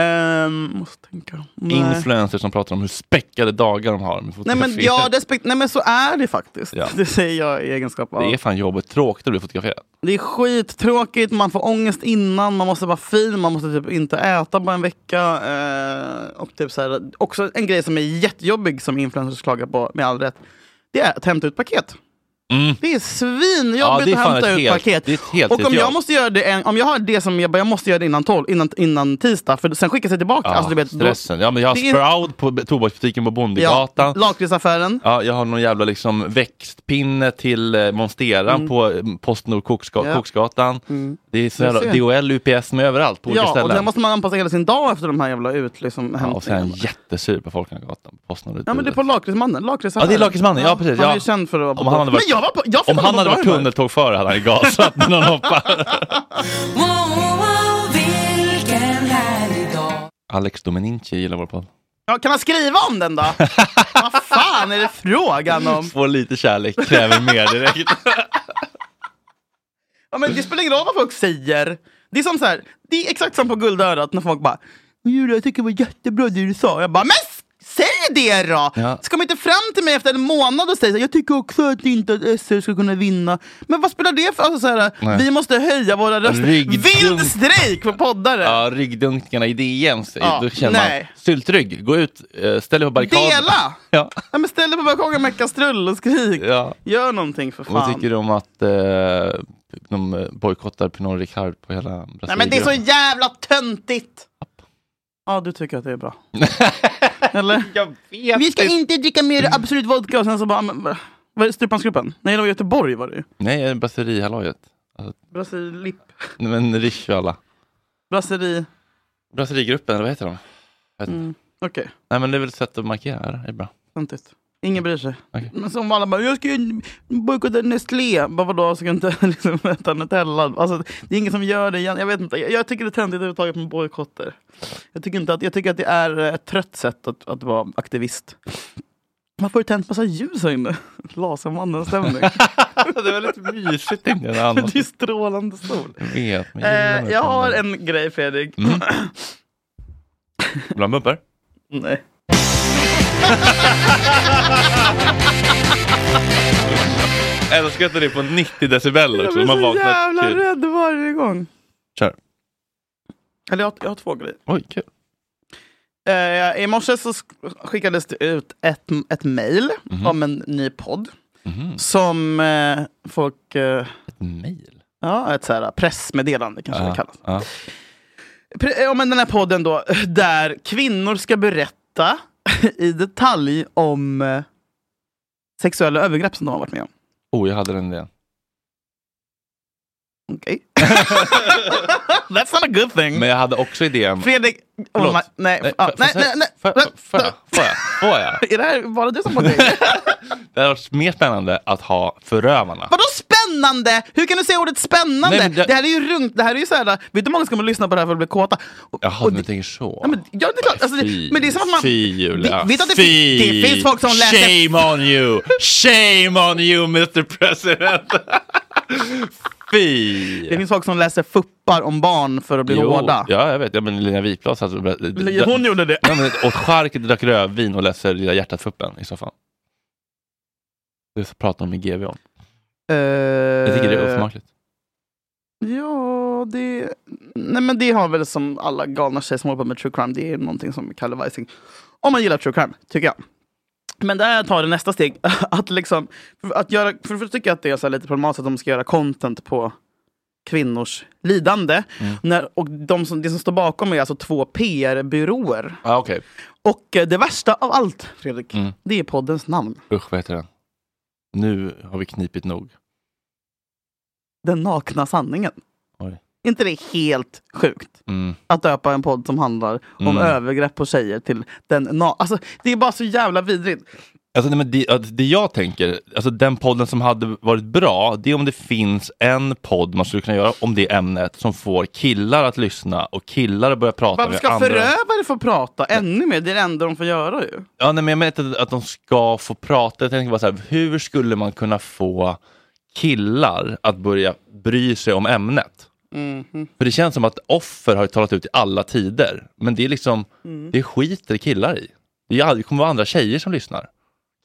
Speaker 2: Ehm, måste tänka. Nej.
Speaker 3: Influencers som pratar om hur späckade dagar de har. Med
Speaker 2: Nej men,
Speaker 3: fotografier.
Speaker 2: ja, det är spekt- Nej men så är det faktiskt.
Speaker 3: Ja.
Speaker 2: [LAUGHS] Det säger jag i egenskap av.
Speaker 3: Det är fan jobbigt tråkigt att bli fotograferad.
Speaker 2: Det är skittråkigt, man får ångest innan, man måste vara fin, man måste typ inte äta på en vecka. Eh, och typ så här, också en grej som är jättejobbig som influencers klagar på med all rätt. Det är att hämta ut paket. Det är
Speaker 3: Mm. Ja,
Speaker 2: svinjobbigt
Speaker 3: det är
Speaker 2: att
Speaker 3: fan
Speaker 2: hämta
Speaker 3: ett
Speaker 2: ut
Speaker 3: helt-
Speaker 2: paket.
Speaker 3: det är ett helt-
Speaker 2: och
Speaker 3: ett
Speaker 2: om jag,
Speaker 3: jobb.
Speaker 2: måste göra det, en, om jag har det som jag, bara, jag måste göra det innan, tolv, innan, innan tisdag, för sen skickas det tillbaka.
Speaker 3: Ja,
Speaker 2: alltså, du vet, då-
Speaker 3: stressen. Ja, men jag har
Speaker 2: Det är-
Speaker 3: Sprout på tobaksbutiken på Bondegatan.
Speaker 2: Ja, lakritsaffären.
Speaker 3: Ja, jag har någon jävla liksom växtpinne till eh, Monsteran
Speaker 2: Mm.
Speaker 3: på eh, Postnord Koksga-
Speaker 2: Ja. Mm.
Speaker 3: Koksgatan. Det är så
Speaker 2: Jag
Speaker 3: jävla
Speaker 2: ser.
Speaker 3: DHL, UPS med överallt på olika
Speaker 2: Ja, och
Speaker 3: ställen.
Speaker 2: där måste man anpassa hela sin dag efter de här jävla ut, liksom,
Speaker 3: ja, och
Speaker 2: hämtningarna.
Speaker 3: sen jättesur på Folkungagatan. på Postnord
Speaker 2: Ja men det är på Lakritsmannen.
Speaker 3: Ja,
Speaker 2: Lakritsaffären.
Speaker 3: det är Lakritsmannen, ja precis.
Speaker 2: Han är
Speaker 3: ja.
Speaker 2: ju känd för att vara på
Speaker 3: om han hade
Speaker 2: Men
Speaker 3: varit,
Speaker 2: jag var på... Jag fick
Speaker 3: om
Speaker 2: vara
Speaker 3: han
Speaker 2: på
Speaker 3: hade varit
Speaker 2: Driver.
Speaker 3: tunneltågförare hade han gasat när någon hoppade.
Speaker 9: vilken härlig dag
Speaker 3: Alex Domenici gillar vår podd.
Speaker 2: Ja, kan han skriva om
Speaker 3: [LAUGHS]
Speaker 2: den då? Vad fan är det frågan om?
Speaker 3: Få lite kärlek kräver mer direkt.
Speaker 2: Ja, men det spelar ingen roll vad folk säger. Det är som så här, det är exakt som på guldörat när folk bara Julia, jag tycker det var jättebra det du sa. Jag bara, men s- säg det då!
Speaker 3: Ja.
Speaker 2: Så kommer inte fram till mig efter en månad och säger så här, jag tycker också att inte att SR ska kunna vinna. Men vad spelar det för alltså, så här,
Speaker 3: Nej.
Speaker 2: Vi måste höja våra röster.
Speaker 3: Ryggdunk.
Speaker 2: Vild strejk för
Speaker 3: [LAUGHS]
Speaker 2: poddare!
Speaker 3: Ja, ryggdunkningarna i DN. så-
Speaker 2: Ja,
Speaker 3: då känner
Speaker 2: nej.
Speaker 3: man, syltrygg, gå ut, eh, ställ dig på barrikaden.
Speaker 2: Dela!
Speaker 3: [LAUGHS] Ja.
Speaker 2: Ja, men ställ dig på balkongen med kastrull och skrik.
Speaker 3: Ja.
Speaker 2: Gör någonting för fan.
Speaker 3: Vad tycker du om att eh, de bojkottar Pinot Ricard på hela Brasilien?
Speaker 2: Nej men det är så jävla töntigt! Ja, du tycker att det är bra. Eller? Vi ska inte dricka mer Absolut Vodka och sen så bara... Men, vad är det, Stryphansgruppen? Nej, det var Göteborg var det ju.
Speaker 3: Nej, brasserihallojet. Alltså,
Speaker 2: Brasilip.
Speaker 3: nej, men Riche och alla.
Speaker 2: Brasserie.
Speaker 3: Brasserigruppen, eller vad heter de? Jag vet inte.
Speaker 2: Mm. Okej,
Speaker 3: Nej men det är väl ett sätt att markera, det är bra.
Speaker 2: töntigt. Ingen bryr sig.
Speaker 3: Okej.
Speaker 2: Men som alla bara, jag ska ju bojkotta Nestlé. Bara vadå, ska jag inte [LAUGHS] liksom äta Nutella? Alltså, det är ingen som gör det igen. Jag vet inte. Jag, jag tycker det är töntigt överhuvudtaget med bojkotter. Jag tycker, inte att, jag tycker att det är eh, ett trött sätt att, att vara aktivist. Man får ju tänt massa ljus här inne. [LAUGHS] Lasermannen-stämning.
Speaker 3: [LAUGHS] det var lite mysigt inne. Det annars.
Speaker 2: [LAUGHS] Det är strålande sol.
Speaker 3: Jag vet, men
Speaker 2: Eh,
Speaker 3: gillar det.
Speaker 2: jag har en grej Fredrik.
Speaker 3: Mm. Bland bumper?
Speaker 2: [CLEARS THROAT] Nej.
Speaker 3: Älskar att det är på 90 decibel
Speaker 2: Jag
Speaker 3: också.
Speaker 2: blir
Speaker 3: Man
Speaker 2: så
Speaker 3: vaknar
Speaker 2: jävla
Speaker 3: till.
Speaker 2: rädd varje gång.
Speaker 3: Kör.
Speaker 2: Eller jag, har- jag har två grejer.
Speaker 3: Oj, kul.
Speaker 2: Eh, I morse så sk- skickades det ut ett, ett mejl
Speaker 3: Mhm.
Speaker 2: om en ny podd.
Speaker 3: Mhm.
Speaker 2: Som eh, folk... Eh,
Speaker 3: Ett mejl?
Speaker 2: Ja, ett så här pressmeddelande kanske det
Speaker 3: Ja,
Speaker 2: kallas.
Speaker 3: ja.
Speaker 2: Pre- ja, men den här podden då, [LAUGHS] där kvinnor ska berätta [LAUGHS] i detalj om eh, sexuella övergrepp som de har varit med om.
Speaker 3: Oh, jag hade den idén.
Speaker 2: Okej. [LAUGHS] That's not a good thing.
Speaker 3: Men jag hade också idén...
Speaker 2: Fredrik... Oh,
Speaker 3: Förlåt.
Speaker 2: my, nej,
Speaker 3: Nej,
Speaker 2: ja,
Speaker 3: får-
Speaker 2: Mm. nej,
Speaker 3: får
Speaker 2: nej,
Speaker 3: jag-
Speaker 2: nej.
Speaker 3: Får jag- får jag? Får jag? Får jag?
Speaker 2: [LAUGHS] Är det här bara du som har det?
Speaker 3: Det hade varit mer spännande att ha förövarna.
Speaker 2: Vadå spännande? Hur kan du säga ordet spännande?
Speaker 3: Nej, men
Speaker 2: det...
Speaker 3: det-
Speaker 2: här är ju runt, det här är ju så här, vet du hur många som kommer lyssna på det här för att bli kåta? Och-
Speaker 3: Jaha,
Speaker 2: och
Speaker 3: du
Speaker 2: det-
Speaker 3: tänker så.
Speaker 2: Ja, men, ja, det är klart. Alltså, det,
Speaker 3: Fy,
Speaker 2: men det är som att man...
Speaker 3: Fy, Julia.
Speaker 2: Vi- vet du att det
Speaker 3: Fy.
Speaker 2: fin- det finns folk som läser-
Speaker 3: Shame on you! Shame on you, Mr President! [LAUGHS] Fy!
Speaker 2: Det finns folk som läser fuppar om barn för att bli hårda.
Speaker 3: Ja, jag vet. Ja, men Lina Wiplas alltså,
Speaker 2: Hon gjorde det.
Speaker 3: Ja, men åt chark, drack rödvin och läser Lilla hjärtat-fuppen i soffan. Det pratar de i GV om.
Speaker 2: Eh,
Speaker 3: Jag tycker det är osmakligt.
Speaker 2: Ja, det... Nej, men det har väl som alla galna tjejer som håller på med true crime, det är någonting som är Kalle Weising. Om man gillar true crime, tycker jag. Men där tar det nästa steg. [LAUGHS] Att liksom, för att göra, för, för tycker jag att det är så här lite problematiskt att de ska göra content på kvinnors lidande.
Speaker 3: Mm.
Speaker 2: När, och de som, det som står bakom är alltså två PR-byråer.
Speaker 3: Ah, Okej,
Speaker 2: Och eh, det värsta av allt, Fredrik,
Speaker 3: Mm.
Speaker 2: det är poddens namn.
Speaker 3: usch vad heter den? Nu har vi knipit nog.
Speaker 2: Den nakna sanningen.
Speaker 3: Oj.
Speaker 2: inte det helt sjukt? Att döpa en podd som handlar om
Speaker 3: Mm.
Speaker 2: övergrepp på tjejer till den na- Alltså det är bara så jävla vidrigt.
Speaker 3: Alltså, nej, men det, att det jag tänker, alltså den podden som hade varit bra, det är om det finns en podd man skulle kunna göra om det ämnet som får killar att lyssna och killar att börja prata
Speaker 2: Varför
Speaker 3: med
Speaker 2: ska
Speaker 3: andra.
Speaker 2: förövare få prata ännu mer? Det är det enda de får göra ju.
Speaker 3: Ja, nej, men jag menar inte att de ska få prata. Jag tänker bara så här, hur skulle man kunna få killar att börja bry sig om ämnet?
Speaker 2: Mhm.
Speaker 3: För det känns som att offer har talat ut i alla tider. Men det är liksom,
Speaker 2: Mm.
Speaker 3: det skiter killar i. Det är- det kommer vara andra tjejer som lyssnar.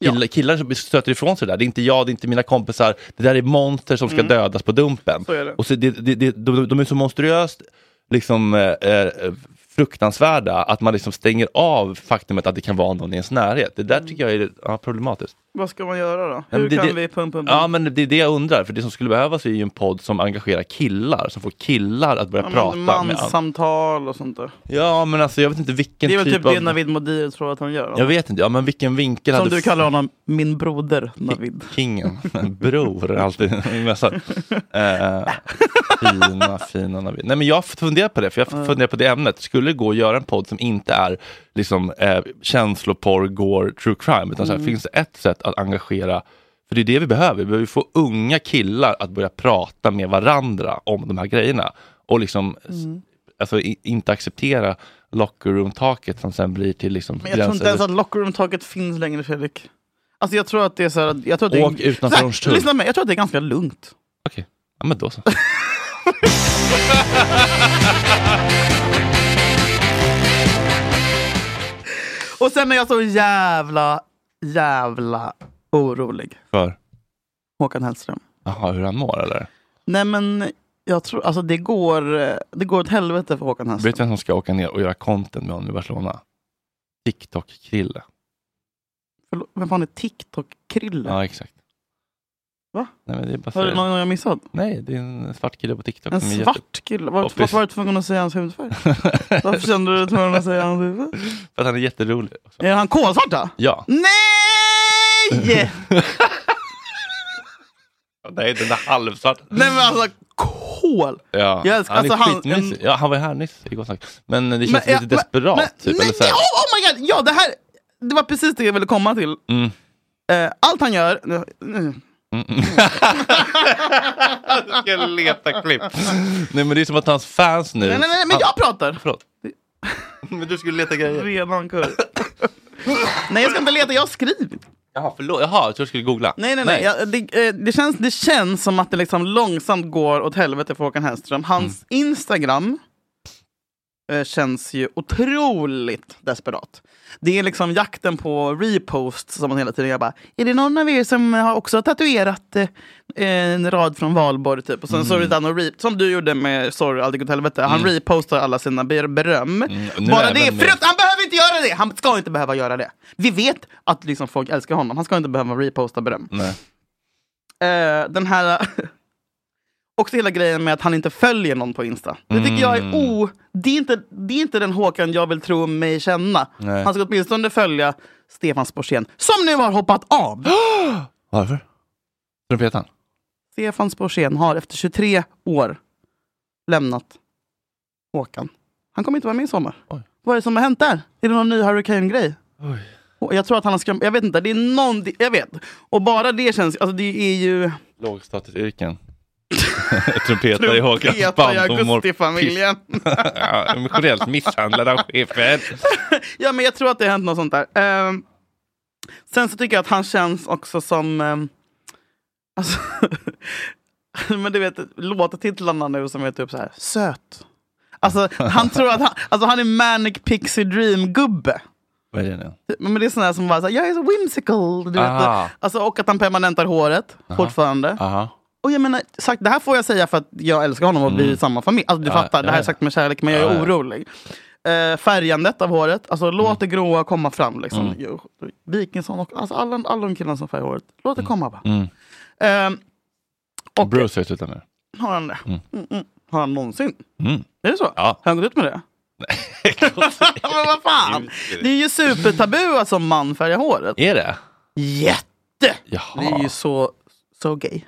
Speaker 3: Killar, killar som stöter ifrån sig det där. Det är inte jag, det är inte mina kompisar. Det där är monster som ska
Speaker 2: Mm.
Speaker 3: dödas på dumpen.
Speaker 2: Så är det.
Speaker 3: Och så det, det, det, de, de är så monstruöst liksom, eh, eh, fruktansvärda att man liksom stänger av faktumet att det kan vara någon i ens närhet. Det
Speaker 2: Mm.
Speaker 3: där tycker jag är ja, problematiskt.
Speaker 2: Vad ska man göra då?
Speaker 3: Ja, men
Speaker 2: Hur
Speaker 3: det-
Speaker 2: kan
Speaker 3: det-
Speaker 2: vi pumpa upp
Speaker 3: Ja, men det är det jag undrar. För det som skulle behövas är ju en podd som engagerar killar, som får killar att börja prata med andra.
Speaker 2: manssamtal och sånt där?
Speaker 3: Ja, men alltså jag vet inte vilken
Speaker 2: det är väl
Speaker 3: typ,
Speaker 2: typ det
Speaker 3: av...
Speaker 2: Navid Modiri tror att han gör.
Speaker 3: Jag vet inte, ja, men vilken vinkel
Speaker 2: Som
Speaker 3: hade...
Speaker 2: du kallar honom, min broder Navid.
Speaker 3: Kingen, bror, alltid i mössan. Eh, fina, fina Navid. Nej men jag funderar på det, för jag
Speaker 2: Mm.
Speaker 3: funderar på det ämnet. Skulle det gå att göra en podd som inte är liksom eh, känsloporr, gore, true crime, utan så här,
Speaker 2: Mm.
Speaker 3: finns det ett sätt att engagera för det är det vi behöver. Vi behöver få unga killar att börja prata med varandra om de här grejerna. Och liksom
Speaker 2: Mm.
Speaker 3: alltså, i, inte acceptera locker room-taket som sen blir till liksom
Speaker 2: Men jag tror inte ens
Speaker 3: gränsöver-
Speaker 2: att lockerroom-taget finns längre Fredrik. Alltså jag tror att det är så här, jag tror att det är,
Speaker 3: Åk utanför
Speaker 2: Så här,
Speaker 3: Hornstull.
Speaker 2: Lyssna med, jag tror att det är ganska lugnt.
Speaker 3: Ja men då så.
Speaker 2: Och sen är jag så jävla, jävla orolig.
Speaker 3: För?
Speaker 2: Håkan Hellström.
Speaker 3: Jaha, hur han mår eller?
Speaker 2: Nej men jag tror, alltså det går, eh, det går åt helvete för Håkan Hellström.
Speaker 3: Vet du vem som ska åka ner och göra content med honom i Barcelona? TikTok-Krille.
Speaker 2: Förlåt, Vem fan är TikTok-Krille?
Speaker 3: Ja, exakt.
Speaker 2: Va?
Speaker 3: Nej, men det är bara
Speaker 2: Har du
Speaker 3: så-
Speaker 2: någon jag missat?
Speaker 3: Nej, det är en svart kille på TikTok.
Speaker 2: En
Speaker 3: som är jätte-
Speaker 2: svart kille? Var-
Speaker 3: Poppis.
Speaker 2: Varför var du tvungen att säga
Speaker 3: [LAUGHS]
Speaker 2: hans hudfärg? Varför kände du dig tvungen att säga hans hudfärg?
Speaker 3: För att han är jätterolig. också.
Speaker 2: Är han kolsvart då?
Speaker 3: Ja. [LAUGHS]
Speaker 2: Nej!
Speaker 3: Nej, den där halvsvarta.
Speaker 2: Nej men alltså kol!
Speaker 3: Ja,
Speaker 2: Jag älskar-
Speaker 3: han är
Speaker 2: alltså, han-
Speaker 3: skitmysig. Ja, han var ju här nyss igår sagt. Men det känns
Speaker 2: Men,
Speaker 3: lite
Speaker 2: ja, men-
Speaker 3: desperat. typ,
Speaker 2: Nej,
Speaker 3: eller så
Speaker 2: nej,
Speaker 3: här.
Speaker 2: oh, oh my god! Ja, det här det var precis det jag ville komma till.
Speaker 3: Mm.
Speaker 2: Eh, allt han gör... nu- nu-
Speaker 3: Jag ska leta klipp. Nej, men det är som att hans fans nu...
Speaker 2: Nej, nej, nej, men jag pratar. [LAUGHS]
Speaker 3: Förlåt. Men du skulle leta grejer.
Speaker 2: Redan kurr. [LAUGHS] nej, jag ska inte leta. Jag har skrivit.
Speaker 3: Jaha, förlåt. Jaha, jag trodde du skulle googla.
Speaker 2: Nej, nej, nej. Jag, det, eh, det, känns, det känns som att det liksom långsamt går åt helvete för Håkan Hellström. Hans Instagram eh, känns ju otroligt desperat. Det är liksom jakten på reposts som man hela tiden gör. Bara, är det någon av er som har också tatuerat eh, en rad från Valborg? Typ? Och sen så är det den och re- som du gjorde med Sorry, allt gick åt helvete. Han
Speaker 3: Mm.
Speaker 2: repostar alla sina ber- beröm.
Speaker 3: nu
Speaker 2: Bara
Speaker 3: även
Speaker 2: det är
Speaker 3: med-
Speaker 2: frukt- han behöver inte göra det! Han ska inte behöva göra det. Vi vet att liksom folk älskar honom. Han ska inte behöva reposta beröm.
Speaker 3: Nej.
Speaker 2: Eh, den här... [LAUGHS] Också hela grejen med att han inte följer någon på Insta. Det tycker jag
Speaker 3: Mm.
Speaker 2: är o... Det är, inte, det är inte den Håkan jag vill tro mig känna.
Speaker 3: Nej.
Speaker 2: Han ska åtminstone följa Stefan Sporsén, som nu har hoppat av!
Speaker 3: Varför? Trumpetaren?
Speaker 2: Stefan Sporsén har efter 23 år lämnat Håkan. Han kommer inte vara med i sommar. Vad är det som har hänt där? Är det någon ny Hurricane-grej? Och Jag tror att han har skrämt... Jag vet inte, det är någon... Jag vet. Och bara det känns... Alltså det är ju...
Speaker 3: Lågstatusyrken. [LAUGHS] Trumpetare i Håkans
Speaker 2: Trumpetare i
Speaker 3: band. och mår
Speaker 2: Augustifamiljen.
Speaker 3: piss. [LAUGHS] Ja, Emotionellt misshandlad av chefen.
Speaker 2: Ja, men jag tror att det har hänt något sånt där. Ehm, sen så tycker jag att han känns också som... ehm, alltså, [LAUGHS] men du vet, låttitlarna nu som är typ så här, söt. Alltså, han tror att han, alltså, han är manic pixie dream-gubbe.
Speaker 3: Vad är det nu?
Speaker 2: Men det är sån här som bara, så här, jag är så whimsical. Du
Speaker 3: Aha.
Speaker 2: vet. Alltså, och att han permanentar håret fortfarande.
Speaker 3: Aha.
Speaker 2: Och jag menar, sagt, det här får jag säga för att jag älskar honom och vi är i samma familj. Alltså du
Speaker 3: Mm. Ja,
Speaker 2: fattar, det
Speaker 3: ja,
Speaker 2: här
Speaker 3: ja.
Speaker 2: är sagt med kärlek men jag
Speaker 3: Ja,
Speaker 2: är
Speaker 3: ja.
Speaker 2: orolig. Eh, färgandet av håret, alltså låt det gråa komma fram. Liksom.
Speaker 3: Mm.
Speaker 2: Jo, Wikingsson och alltså, alla, alla de killarna som färgar håret, låt det komma bara.
Speaker 3: Mm.
Speaker 2: Eh,
Speaker 3: Bruce har ju slutat med
Speaker 2: har han det?
Speaker 3: Mm.
Speaker 2: Mm, mm. Har han någonsin?
Speaker 3: det. mm.
Speaker 2: Är det så?
Speaker 3: Ja.
Speaker 2: Har han gått ut
Speaker 3: [LAUGHS]
Speaker 2: med det? [LAUGHS] men vad fan! Det är ju supertabu att som man färga håret.
Speaker 3: Är det?
Speaker 2: Jätte!
Speaker 3: Jaha.
Speaker 2: Det är ju så, så gay.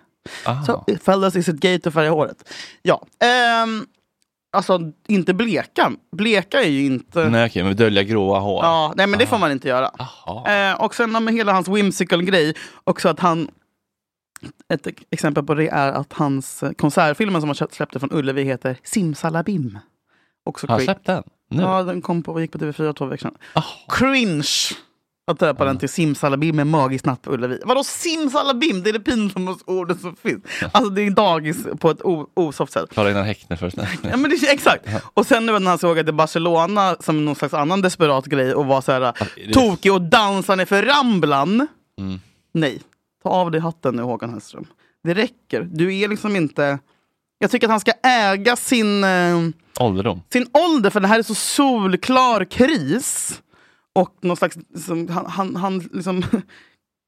Speaker 3: Ah.
Speaker 2: Så, fellas, is it gay to färga håret? Ja. ehm, Alltså inte bleka. Bleka är ju inte...
Speaker 3: Nej okej, men dölja gråa hår.
Speaker 2: Ja, nej men det får man inte göra. Eh, och sen med hela hans whimsical-grej, också att han... Ett ex- exempel på det är att hans eh, konsertfilmen som han köpt- släppte från Ullevi heter Simsalabim. Också
Speaker 3: Har han
Speaker 2: cri-
Speaker 3: släppt den? Nu? Ah.
Speaker 2: Ja, den kom på, gick på TV4 två veckor sedan. Cringe! Att döpa den till Simsalabim med magiskt natt på Ullevi. Vadå simsalabim? Det är det pinsammaste ordet som finns. Alltså det är dagis på ett o- osoft sätt.
Speaker 3: Ta det innan Häckner först.
Speaker 2: Ja, men det, exakt. Och sen nu när han såg att det Barcelona som någon slags annan desperat grej och var så här
Speaker 3: det-
Speaker 2: tokig och dansande för Ramblan.
Speaker 3: Mm.
Speaker 2: Nej, ta av dig hatten nu Håkan Hellström. Det räcker. Du är liksom inte... Jag tycker att han ska äga sin, eh,
Speaker 3: [LAUGHS] Ålderdom.
Speaker 2: sin ålder för det här är så solklar kris. Och någon slags... Liksom, han, han, han liksom... [LAUGHS]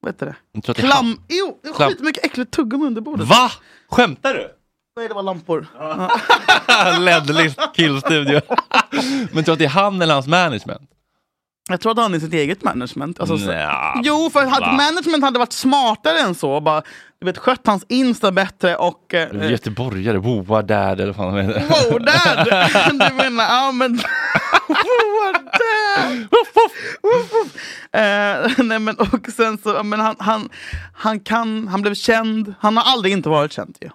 Speaker 2: Vad heter det?
Speaker 3: Jag tror att det är
Speaker 2: Klam... Jo,
Speaker 3: Klam-
Speaker 2: skitmycket äckligt tuggummi under bordet.
Speaker 3: Va? Skämtar du? [LAUGHS]
Speaker 2: Nej, det var lampor.
Speaker 3: Ledlist killstudio. [LAUGHS] men tror att det är han eller hans management?
Speaker 2: Jag tror att han är sitt eget management. Alltså, så-
Speaker 3: Nja,
Speaker 2: jo, för
Speaker 3: va?
Speaker 2: hade management hade varit smartare än så. Bara, du vet, skött hans Insta bättre och... Eh,
Speaker 3: Göteborgare, woa dad eller vad fan de heter. [LAUGHS]
Speaker 2: Wow, dad! du menar, ja men... Wow, dad! Woof, woof, woof, woof. Eh, nej men och sen så, ja, men han, han, han kan, han blev känd, han har aldrig inte varit känd ju.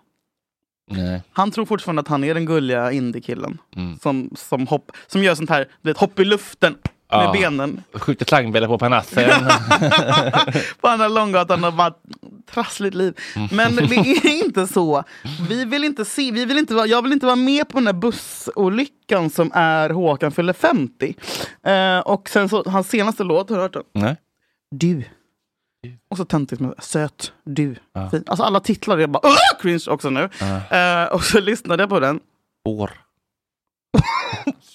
Speaker 3: Nej.
Speaker 2: Han tror fortfarande att han är den gulliga indiekillen.
Speaker 3: Mm.
Speaker 2: Som, som, hopp, som gör sånt här, du vet, hopp i luften med
Speaker 3: Ja.
Speaker 2: benen.
Speaker 3: Skjuter klangbella på panassen.
Speaker 2: på andra långgatan och bara trassligt liv. Men
Speaker 3: [LAUGHS]
Speaker 2: det är inte så. Vi vill inte se, vi vill inte vara, jag vill inte vara med på den där bussolyckan som är Håkan fyller 50. Eh, och sen så, hans senaste låt, har du hört den?
Speaker 3: Nej.
Speaker 2: Du. Och så töntigt med söt, du,
Speaker 3: Ja.
Speaker 2: fin. Alltså alla titlar är bara "Åh!" cringe också nu.
Speaker 3: Ja.
Speaker 2: Eh, och så lyssnade jag på den.
Speaker 3: Spår.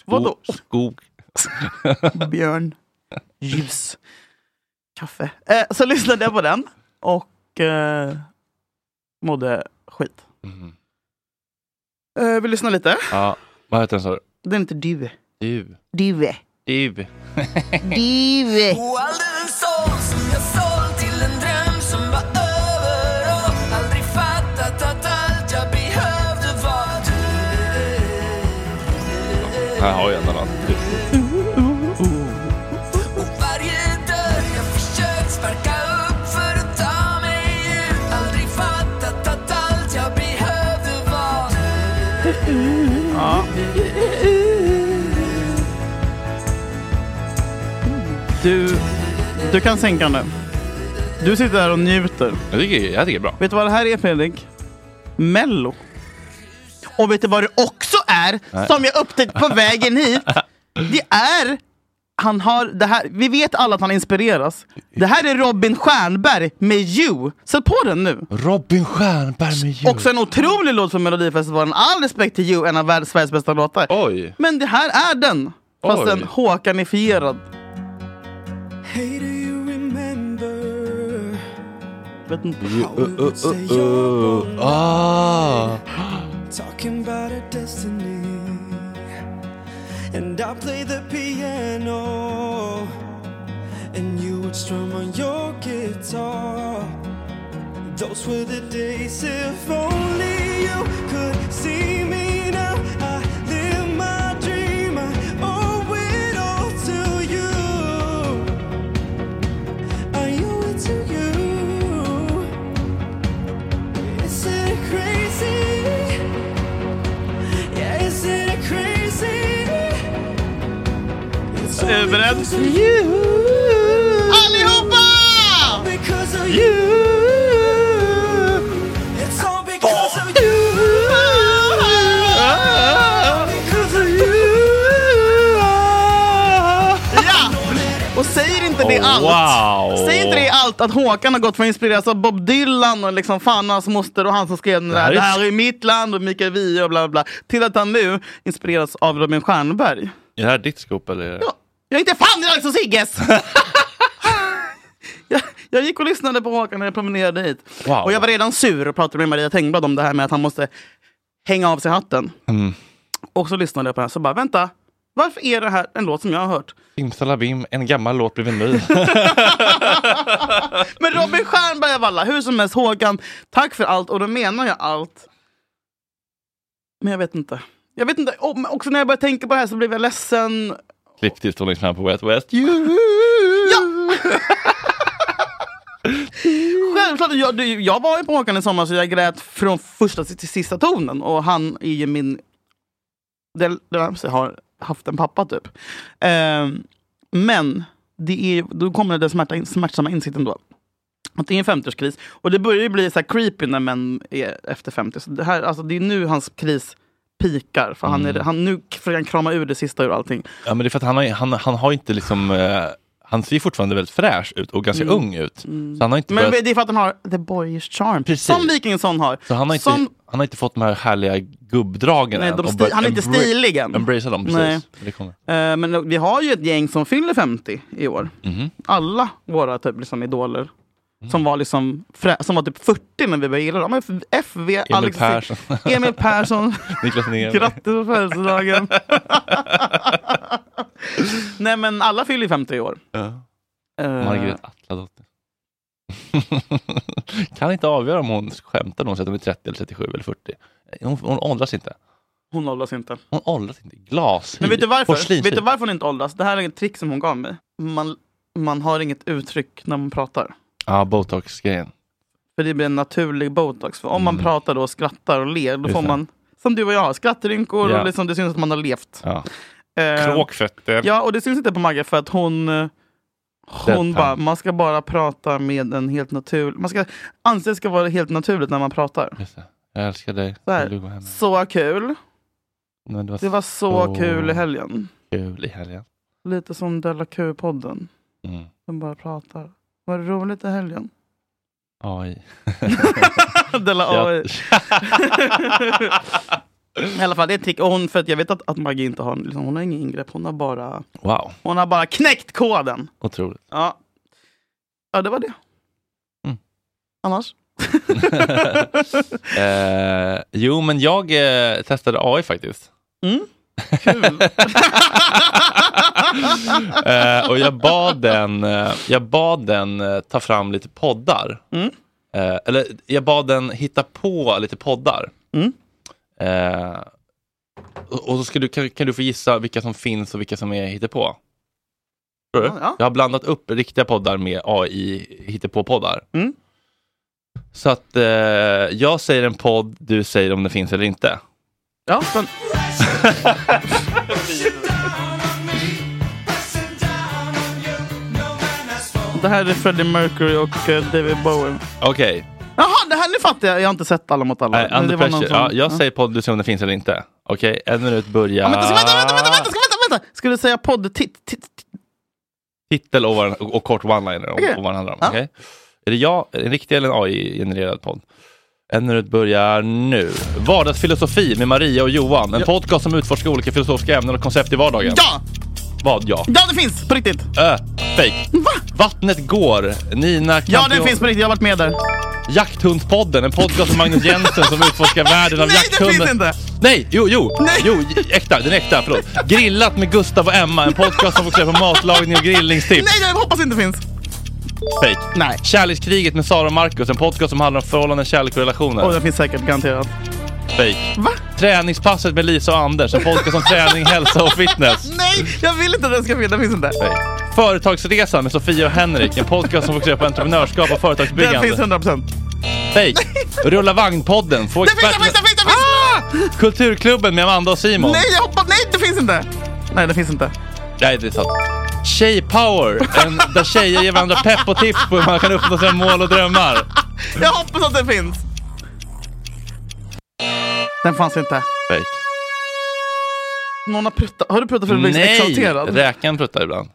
Speaker 2: Vadå?
Speaker 3: Skog.
Speaker 2: Björn. Ljus. Kaffe. Eh, så lyssnade jag på den och eh, mådde skit.
Speaker 3: Mhm.
Speaker 2: Eh, vill lyssna lite?
Speaker 3: Ja, vad heter den sa du?
Speaker 2: Den heter Du.
Speaker 3: Du.
Speaker 2: Du.
Speaker 3: Du.
Speaker 2: Du.
Speaker 9: Oalden såls, jag såld till en dröm som var över och aldrig fattat att allt jag behövde var du.
Speaker 3: Här har jag en annan. Du.
Speaker 9: Varje dörr jag försökt sparka upp för att ta mig ut Aldrig fattat att allt jag behövde var
Speaker 2: Ja. Du, du kan sänka nu. Du sitter här och njuter.
Speaker 3: Jag tycker, jag tycker det är bra.
Speaker 2: Vet du vad det här är Fredrik? Mello. Och vet du vad det också är?
Speaker 3: Nej.
Speaker 2: Som jag upptäckte på vägen hit. Det är... Han har det här, vi vet alla att han inspireras. Det här är Robin Stjernberg med You. Sätt på den nu.
Speaker 3: Robin Stjernberg med You.
Speaker 2: Också en otrolig låt från Melodifestivalen. All respekt till You, en av världens, Sveriges bästa låtar.
Speaker 3: Oj.
Speaker 2: Men det här är den. Fast
Speaker 3: Oj.
Speaker 2: en Håkanifierad.
Speaker 9: Hey do you remember
Speaker 2: Vet inte.
Speaker 3: You, uh, uh, uh, uh. Ah.
Speaker 9: Talking about a destiny. And I played the piano. And you would strum on your guitar. Those were the days if only you could see me now. I live my dream. I owe it all to you. I owe it to you. Is it crazy? Yeah, is it crazy? It's
Speaker 2: Är du
Speaker 9: only
Speaker 2: beredd?
Speaker 9: because of you.
Speaker 2: Allihopa!
Speaker 9: Because of you.
Speaker 2: You.
Speaker 9: It's all because of you.
Speaker 3: Ah.
Speaker 9: Because of you.
Speaker 2: Ja! Och säger inte det
Speaker 3: Oh,
Speaker 2: allt?
Speaker 3: wow.
Speaker 2: Säger inte det allt att Håkan har gått från att inspireras av Bob Dylan och liksom fan och hans moster och han som skrev den
Speaker 3: Det här
Speaker 2: där
Speaker 3: är-
Speaker 2: Det här är mitt land och Mikael Wiehe och bla bla bla. Till att han nu inspireras av Robin Stjernberg.
Speaker 3: Är det här ditt scoop eller?
Speaker 2: Ja. Jag är inte fan i Alex och Sigges! [LAUGHS] jag, jag gick och lyssnade på Håkan när jag promenerade hit.
Speaker 3: Wow.
Speaker 2: Och jag var redan sur och pratade med Maria Tengblad om det här med att han måste hänga av sig hatten.
Speaker 3: Mm.
Speaker 2: Och så lyssnade jag på den så bara vänta, varför är det här en låt som jag har hört?
Speaker 3: Simsalabim, en gammal låt blev en ny. [LAUGHS]
Speaker 2: Men Robin Stjernberg av alla, hur som helst Håkan, tack för allt och då menar jag allt. Men jag vet inte. Jag vet inte, och, men också när jag började tänka på det här så blev jag ledsen.
Speaker 3: Klipp till Strålningsman på Wet West. You.
Speaker 2: Självklart, jag, du- jag var ju på Håkan i sommar så jag grät från första till sista tonen. Och han är ju min... Det, det var- jag har haft en pappa typ. Ehm, men det är, då kommer den smärta, smärtsamma insikten då. Att det är en 50-årskris. Och det börjar ju bli så här creepy när män är efter 50. Så det, här, alltså, det är nu hans kris pikar. För han är,
Speaker 3: Mm.
Speaker 2: han, nu försöker han krama ur det sista ur allting.
Speaker 3: Ja, men det är för att han har, han, han har inte liksom... eh, han ser fortfarande väldigt fräsch ut och ganska
Speaker 2: Mm.
Speaker 3: ung ut.
Speaker 2: Mm.
Speaker 3: Så han har inte
Speaker 2: Men
Speaker 3: börjat,
Speaker 2: det är för att han har the boyish charm.
Speaker 3: Precis.
Speaker 2: Som Vikingsson har.
Speaker 3: så han, har inte,
Speaker 2: som-
Speaker 3: han har inte fått de här härliga gubbdragen
Speaker 2: Nej,
Speaker 3: än
Speaker 2: de
Speaker 3: och
Speaker 2: sti-
Speaker 3: börjat
Speaker 2: han är inte
Speaker 3: embra-
Speaker 2: stilig än.
Speaker 3: Embracea dem, precis.
Speaker 2: Nej.
Speaker 3: Det kommer.
Speaker 2: Eh, men vi har ju ett gäng som fyller 50 i år.
Speaker 3: Mhm.
Speaker 2: Alla våra typ, liksom, idoler.
Speaker 3: Mm.
Speaker 2: Som, var liksom frä- som var typ 40 när vi började gilla dem. Men FV, Emil Alex
Speaker 3: Persson. [LAUGHS]
Speaker 2: Emil Persson. [LAUGHS]
Speaker 3: Niklas Niemi.
Speaker 2: Grattis
Speaker 3: [LAUGHS]
Speaker 2: på födelsedagen. Nej men alla fyller ju 50 i år.
Speaker 3: Ja.
Speaker 2: Eh,
Speaker 3: Margret Atladotter. [LAUGHS] kan inte avgöra om hon skämtar när hon säger att hon är 30 eller 37 eller 40. Hon, hon åldras inte.
Speaker 2: Hon åldras inte.
Speaker 3: Hon åldras inte. Glas.
Speaker 2: Men vet du varför?
Speaker 3: typ.
Speaker 2: Vet du varför hon inte åldras? Det här är ett trick som hon gav mig. Man, man har inget uttryck när man pratar.
Speaker 3: Ja, botox-grejen.
Speaker 2: För det blir en naturlig botox. För om man
Speaker 3: Mm.
Speaker 2: pratar då, skrattar och ler, då
Speaker 3: Just
Speaker 2: får
Speaker 3: det.
Speaker 2: man, som du och jag, har, skrattrynkor
Speaker 3: Ja.
Speaker 2: och liksom, det syns att man har levt.
Speaker 3: Ja.
Speaker 2: Eh,
Speaker 3: Kråkfötter.
Speaker 2: Ja, och det syns inte på Maggie för att hon eh, hon
Speaker 3: Deadpan.
Speaker 2: bara, man ska bara prata med en helt naturlig... Man ska anse det ska vara helt naturligt när man pratar.
Speaker 3: Jag älskar dig.
Speaker 2: Så,
Speaker 3: Vill du gå
Speaker 2: här.
Speaker 3: hem?
Speaker 2: så kul.
Speaker 3: Men
Speaker 2: Det var så kul i helgen.
Speaker 3: Kul i helgen.
Speaker 2: Lite som Della Q-podden.
Speaker 3: Mm.
Speaker 2: De bara pratar. Var det roligt i helgen?
Speaker 3: AI.
Speaker 2: Della AI.
Speaker 3: Chatt-
Speaker 2: Mm, I alla fall, det är ett trick. Och hon, för att jag vet att, att Maggie inte har, liksom, hon har ingen ingrepp. Hon har bara,
Speaker 3: [LAUGHS] Wow,
Speaker 2: hon har bara knäckt koden.
Speaker 3: otroligt. [LAUGHS]
Speaker 2: Ja. ja, det var det.
Speaker 3: Mm.
Speaker 2: Annars?
Speaker 3: Eh, jo, men jag eh, testade AI faktiskt.
Speaker 2: Mm.
Speaker 3: [LAUGHS] Eh, och jag bad den, eh, jag bad den eh, ta fram lite poddar.
Speaker 2: Mm.
Speaker 3: Eh, eller jag bad den hitta på lite poddar.
Speaker 2: Mm.
Speaker 3: Eh, och och så ska du, kan, kan du få gissa vilka som finns och vilka som är hittepå. Tror du?
Speaker 2: Ja, ja.
Speaker 3: Jag har blandat upp riktiga poddar med AI hittepå-poddar.
Speaker 2: Mm.
Speaker 3: Så att eh, jag säger en podd, du säger om den finns eller inte.
Speaker 2: Ja, men... Det här är Freddie Mercury och eh, David Bowie.
Speaker 3: Okej,
Speaker 2: Jaha, det här nu fattar jag. Jag har inte sett Alla mot alla.
Speaker 3: Nej,
Speaker 2: Men
Speaker 3: under
Speaker 2: det var någon
Speaker 3: pressure.
Speaker 2: som-
Speaker 3: ja, jag
Speaker 2: ja.
Speaker 3: säger podd, du säger om den finns eller inte. Okej, en minut börjar.
Speaker 2: Vänta, vänta,
Speaker 3: Ah.
Speaker 2: vänta, vänta, vänta, ska, vänta, vänta. Ska du säga podd? Titt, titt,
Speaker 3: Titel och, vad- och, och kort one-liner om,
Speaker 2: Okej.
Speaker 3: om vad den handlar om.
Speaker 2: Ja.
Speaker 3: okej? Är det jag, en riktig eller en AI-genererad podd? En minut börjar nu. Vardagsfilosofi med Maria och Johan. En
Speaker 2: Ja.
Speaker 3: podcast som utforskar olika filosofiska ämnen och koncept i vardagen.
Speaker 2: Ja!
Speaker 3: Vad ja?
Speaker 2: Ja, det finns på riktigt.
Speaker 3: Ö, fake. Vattnet går. Nina
Speaker 2: Ja, den
Speaker 3: Campion-
Speaker 2: finns på riktigt. Jag har varit med där.
Speaker 3: Jakthundspodden, en podcast av Magnus Jensen som utforskar världen av
Speaker 2: [LAUGHS] Nej,
Speaker 3: jakthunden.
Speaker 2: det finns inte!
Speaker 3: Nej, jo, jo, jo, j- äkta, den är äkta, förlåt. Grillat med Gustav och Emma, en podcast som fokuserar på matlagning och grillningstips.
Speaker 2: Nej, jag hoppas inte finns.
Speaker 3: Fake.
Speaker 2: Nej.
Speaker 3: Kärlekskriget med Sara och Markus, en podcast som handlar om förhållanden, kärlek och relationer.
Speaker 2: Åh, den finns säkert, garanterat.
Speaker 3: Fake.
Speaker 2: Va?
Speaker 3: Träningspasset med Lisa och Anders, en podcast om träning, hälsa och fitness.
Speaker 2: Nej, jag vill inte att den ska finnas. Den finns inte.
Speaker 3: Fake. Företagsresan med Sofia och Henrik, en podcast som fokuserar på entreprenörskap och företagsbyggande.
Speaker 2: Den finns 100 procent.
Speaker 3: Fake. Rulla vagn-podden, två
Speaker 2: Den finns,
Speaker 3: experter.
Speaker 2: den finns, den finns, den finns!
Speaker 3: Kulturklubben med Amanda och
Speaker 2: Ah!
Speaker 3: Simon.
Speaker 2: Nej, jag hoppas... Nej, det finns inte. Nej, det finns inte.
Speaker 3: Nej, det är sant. Tjejpower, en, där tjejer ger varandra pepp och tips på hur man kan uppnå sina mål och drömmar.
Speaker 2: Jag hoppas att den finns. Den fanns inte.
Speaker 3: Fake.
Speaker 2: Någon har pruttat. Har du pruttat för att du blir
Speaker 3: Nej,
Speaker 2: exalterad?
Speaker 3: räkan pruttar ibland.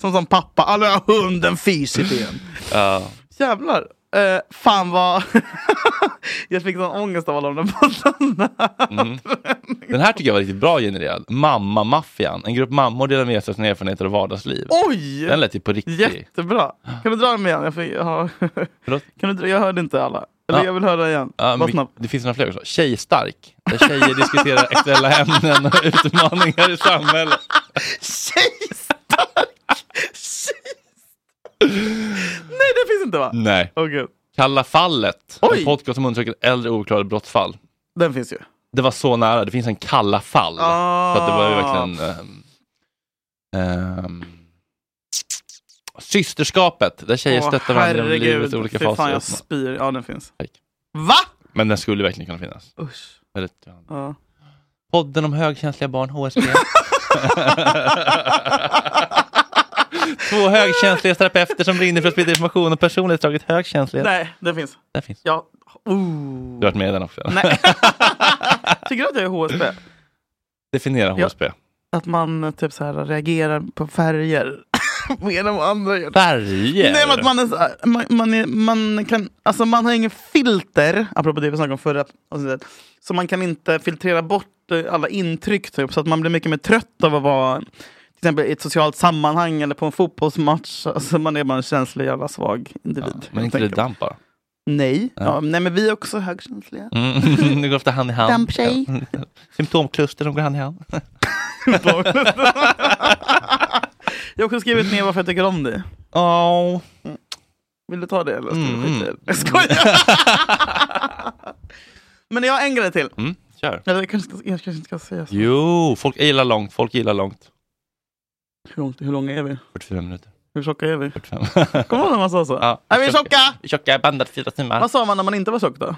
Speaker 2: som som pappa. Alla hunden fisit igen.
Speaker 3: Ja.
Speaker 2: Jävlar. Eh, fan vad... [LAUGHS] jag fick sån ångest av alla de där poddarna.
Speaker 3: Mm. Den här tycker jag var riktigt bra genererad. Mamma-maffian, en grupp mammor delar med sig av sina erfarenheter och vardagsliv.
Speaker 2: Oj!
Speaker 3: Den lät ju på riktigt.
Speaker 2: Jättebra. Kan du dra dem igen? Jag, fick, jag, har- [LAUGHS] kan du dra, jag hörde inte alla. Eller
Speaker 3: Ja.
Speaker 2: jag vill höra igen.
Speaker 3: Ja,
Speaker 2: Var
Speaker 3: men
Speaker 2: snabb.
Speaker 3: det finns några fler också. Tjejstark, där tjejer diskuterar [LAUGHS] aktuella ämnen och utmaningar i samhället.
Speaker 2: Tjejstark! Tjejstark! [LAUGHS] Nej, det finns inte va?
Speaker 3: Nej.
Speaker 2: Åh, gud.
Speaker 3: Kalla fallet,
Speaker 2: Oj.
Speaker 3: en podcast som undersöker äldre ouppklarade brottsfall.
Speaker 2: Den finns ju.
Speaker 3: Det var så nära, det finns en Kalla fall.
Speaker 2: Ah.
Speaker 3: Så att det var ju verkligen... ehm, ehm, systerskapet, där tjejer
Speaker 2: Åh,
Speaker 3: stöttar varandra i
Speaker 2: herregud,
Speaker 3: livets olika
Speaker 2: fy fan,
Speaker 3: faser.
Speaker 2: jag spyr. Ja, den finns.
Speaker 3: Va? Men den skulle verkligen kunna finnas.
Speaker 2: Usch.
Speaker 3: Väldigt, [LAUGHS]
Speaker 2: Ja.
Speaker 3: Podden om högkänsliga barn, HSB. [LAUGHS] Två högkänslighetsterapeuter som ringer för att sprida information om personlighetsdraget högkänslighet.
Speaker 2: Nej, den finns.
Speaker 3: Den finns.
Speaker 2: Ja. Oh.
Speaker 3: Du har varit med i den också? eller? [LAUGHS]
Speaker 2: Nej. Tycker du att jag är HSB?
Speaker 3: Definiera
Speaker 2: Ja.
Speaker 3: HSB.
Speaker 2: Att man eh, typ så här reagerar på färger [LAUGHS] mer än vad andra gör.
Speaker 3: Färger?
Speaker 2: Nej, men att man, är så här, man, man, är, man kan, alltså man har ingen filter, apropå det vi snackade om förra avsnittet, så man kan inte filtrera bort eh, alla intryck typ, så att man blir mycket mer trött av att vara till exempel i ett socialt sammanhang eller på en fotbollsmatch. [LAUGHS] Alltså man är bara en känslig jävla svag individ.
Speaker 3: Men
Speaker 2: helt
Speaker 3: inte det
Speaker 2: enkelt.
Speaker 3: damp bara?
Speaker 2: Nej.
Speaker 3: Ja.
Speaker 2: Ja. nej, men vi är
Speaker 3: [LAUGHS]
Speaker 2: också högkänsliga.
Speaker 3: Mm. Det går ofta hand i hand.
Speaker 2: Damptjej.
Speaker 3: Ja. [LAUGHS] Symptomkluster som går hand i hand.
Speaker 2: Jag har också skrivit ner varför jag tycker om dig.
Speaker 3: Oh.
Speaker 2: Vill du ta det eller ska du
Speaker 3: Mm.
Speaker 2: skita i det?
Speaker 3: [LAUGHS]
Speaker 2: Jag skojar! [LAUGHS] Men jag har en grej till.
Speaker 3: Mm, kör.
Speaker 2: Eller jag kanske, ska, jag kanske inte ska säga så.
Speaker 3: Jo, folk gillar långt. Folk gillar långt.
Speaker 2: Hur, långt, hur långa är vi?
Speaker 3: 44 minuter.
Speaker 2: Hur tjocka är vi?
Speaker 3: 45.
Speaker 2: Kommer du ihåg när man sa så?
Speaker 3: [LAUGHS] Ja,
Speaker 2: är alltså. vi tjocka?
Speaker 3: Tjocka bandat fyra timmar.
Speaker 2: Vad sa man när man inte var tjock då?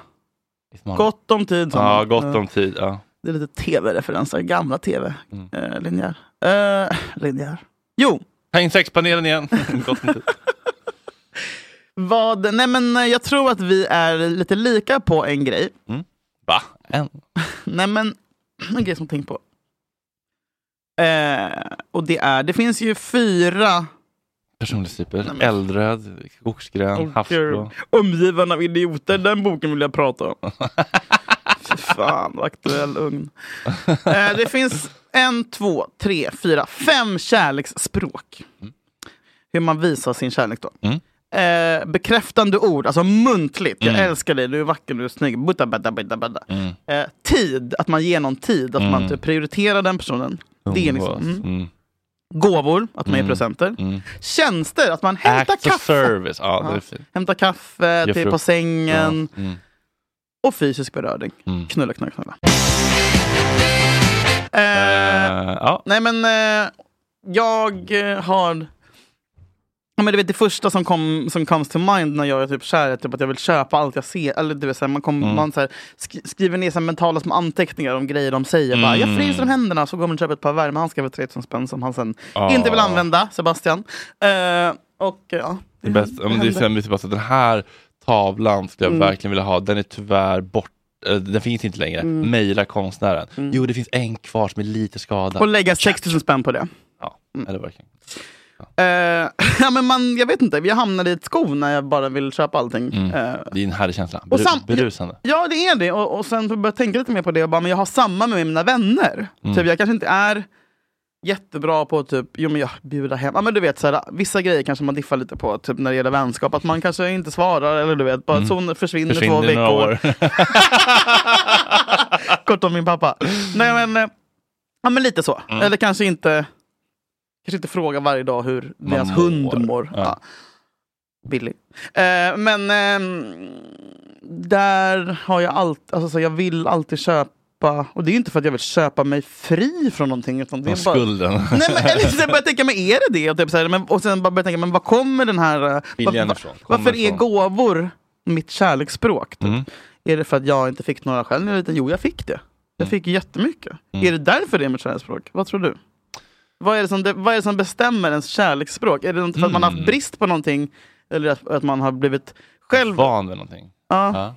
Speaker 3: Smala.
Speaker 2: Gott om tid sa
Speaker 3: Ja,
Speaker 2: man.
Speaker 3: gott om
Speaker 2: Eh,
Speaker 3: tid. Ja.
Speaker 2: Det är lite tv-referenser, gamla tv.
Speaker 3: Mm.
Speaker 2: Eh, linjär. Eh, linjär. Jo,
Speaker 3: Häng sexpanelen
Speaker 2: [LAUGHS]
Speaker 3: igen. [LAUGHS] gott om tid.
Speaker 2: vad, nej men eh, jag tror att vi är lite lika på en grej.
Speaker 3: Mm. Va? En?
Speaker 2: Nej men, en grej som jag tänkt på. Eh, och det är, det finns ju fyra
Speaker 3: Personlighetstyper. Eldröd, skogsgrön,
Speaker 2: Åh,
Speaker 3: havsblå.
Speaker 2: gud. eh, Omgiven av idioter, den boken vill jag prata om.
Speaker 3: [LAUGHS]
Speaker 2: Fy fan vad aktuell ugn. Eh, det finns en, två, tre, fyra, fem kärleksspråk.
Speaker 3: Mm.
Speaker 2: Hur man visar sin kärlek då. Eh, bekräftande ord, alltså muntligt. Jag
Speaker 3: Mm.
Speaker 2: älskar dig, du är vacker, du är snygg. Butta, butta, butta, butta.
Speaker 3: Mm.
Speaker 2: Eh, tid, att man ger någon tid, att
Speaker 3: Mm.
Speaker 2: man typ prioriterar den personen. Det är liksom, mm.
Speaker 3: Mm.
Speaker 2: Gåvor, att man ger
Speaker 3: Mm.
Speaker 2: presenter.
Speaker 3: Mm.
Speaker 2: Tjänster, att man hämtar
Speaker 3: Acts of
Speaker 2: kaffe.
Speaker 3: service. Ja, det
Speaker 2: Ja.
Speaker 3: är fint.
Speaker 2: Hämta kaffe,
Speaker 3: Ge
Speaker 2: till på
Speaker 3: frukt.
Speaker 2: sängen.
Speaker 3: Ja. Mm.
Speaker 2: Och fysisk beröring.
Speaker 3: Mm.
Speaker 2: Knulla, knulla, knulla.
Speaker 3: Eh, ja.
Speaker 2: Nej men, eh, jag eh, har... Ja, men du vet, det första som, kom, som comes to mind när jag är typ kär är typ att jag vill köpa allt jag ser. Eller du vet, så här, man, kom,
Speaker 3: Mm.
Speaker 2: man så här, sk- skriver ner så här, mentala små anteckningar om grejer de säger. Bara, jag
Speaker 3: Mm.
Speaker 2: fryser om händerna så går man och köper ett par värmehandskar för 3000 spänn som han sen
Speaker 3: Ah.
Speaker 2: inte vill använda, Sebastian. Eh, och ja,
Speaker 3: Det är bäst, ja, men det är
Speaker 2: Mm. händer.
Speaker 3: så här mycket bara så att den här tavlan skulle jag
Speaker 2: Mm.
Speaker 3: verkligen vilja ha. Den är tyvärr bort, eh, den finns inte längre.
Speaker 2: Mm.
Speaker 3: Mejla konstnären.
Speaker 2: Mm.
Speaker 3: Jo, det finns en kvar som är lite skadad.
Speaker 2: Och lägga 6000 spänn på det.
Speaker 3: Ja,
Speaker 2: Mm.
Speaker 3: eller verkligen.
Speaker 2: Eh, [LAUGHS] ja, men man, jag vet inte, jag hamnar i ett skov när jag bara vill köpa allting.
Speaker 3: Mm.
Speaker 2: Eh,
Speaker 3: Det är en härlig känsla.
Speaker 2: och
Speaker 3: Beru-
Speaker 2: sam-
Speaker 3: berusande.
Speaker 2: ja, det är det. Och, och sen började jag tänka lite mer på det och bara, men jag har samma med mina vänner.
Speaker 3: Mm.
Speaker 2: Typ, jag kanske inte är jättebra på typ, jo men jag bjuder hem, ja, men du vet så här, vissa grejer kanske man diffar lite på typ när det gäller vänskap, att man kanske inte svarar eller du vet, bara
Speaker 3: Mm.
Speaker 2: så försvinner,
Speaker 3: Försvinner
Speaker 2: två
Speaker 3: i några
Speaker 2: veckor.
Speaker 3: år.
Speaker 2: Kort om min pappa. Nej men, eh, ja, men lite så.
Speaker 3: Mm.
Speaker 2: Eller kanske inte, kanske inte fråga varje dag hur
Speaker 3: Man
Speaker 2: deras hund mår.
Speaker 3: Ja.
Speaker 2: Ja. Billy. Eh, men ehm, där har jag alltid, alltså, så jag vill alltid köpa, och det är ju inte för att jag vill köpa mig fri från någonting. Utan det
Speaker 3: Från
Speaker 2: är bara,
Speaker 3: skulden.
Speaker 2: Nej, men, eller så börjar jag tänka, men är det det? Och, typ, så här, men, och sen bara börjar jag tänka, men vad kommer den här... eh,
Speaker 3: Viljan
Speaker 2: va-
Speaker 3: ifrån? Kommer
Speaker 2: varför är
Speaker 3: ifrån?
Speaker 2: gåvor mitt kärleksspråk? Typ?
Speaker 3: Mm.
Speaker 2: Är det för att jag inte fick några själv när jag var liten? Jo, jag fick det. Jag fick jättemycket.
Speaker 3: Mm.
Speaker 2: Är det därför det är mitt kärleksspråk? Vad tror du? Vad är det som, det, vad är det som bestämmer ens kärleksspråk? Är det något för att
Speaker 3: Mm.
Speaker 2: man har haft brist på någonting? Eller att, att man har blivit själv... Ah.
Speaker 3: Van vid någonting.
Speaker 2: Ja.
Speaker 3: Ja.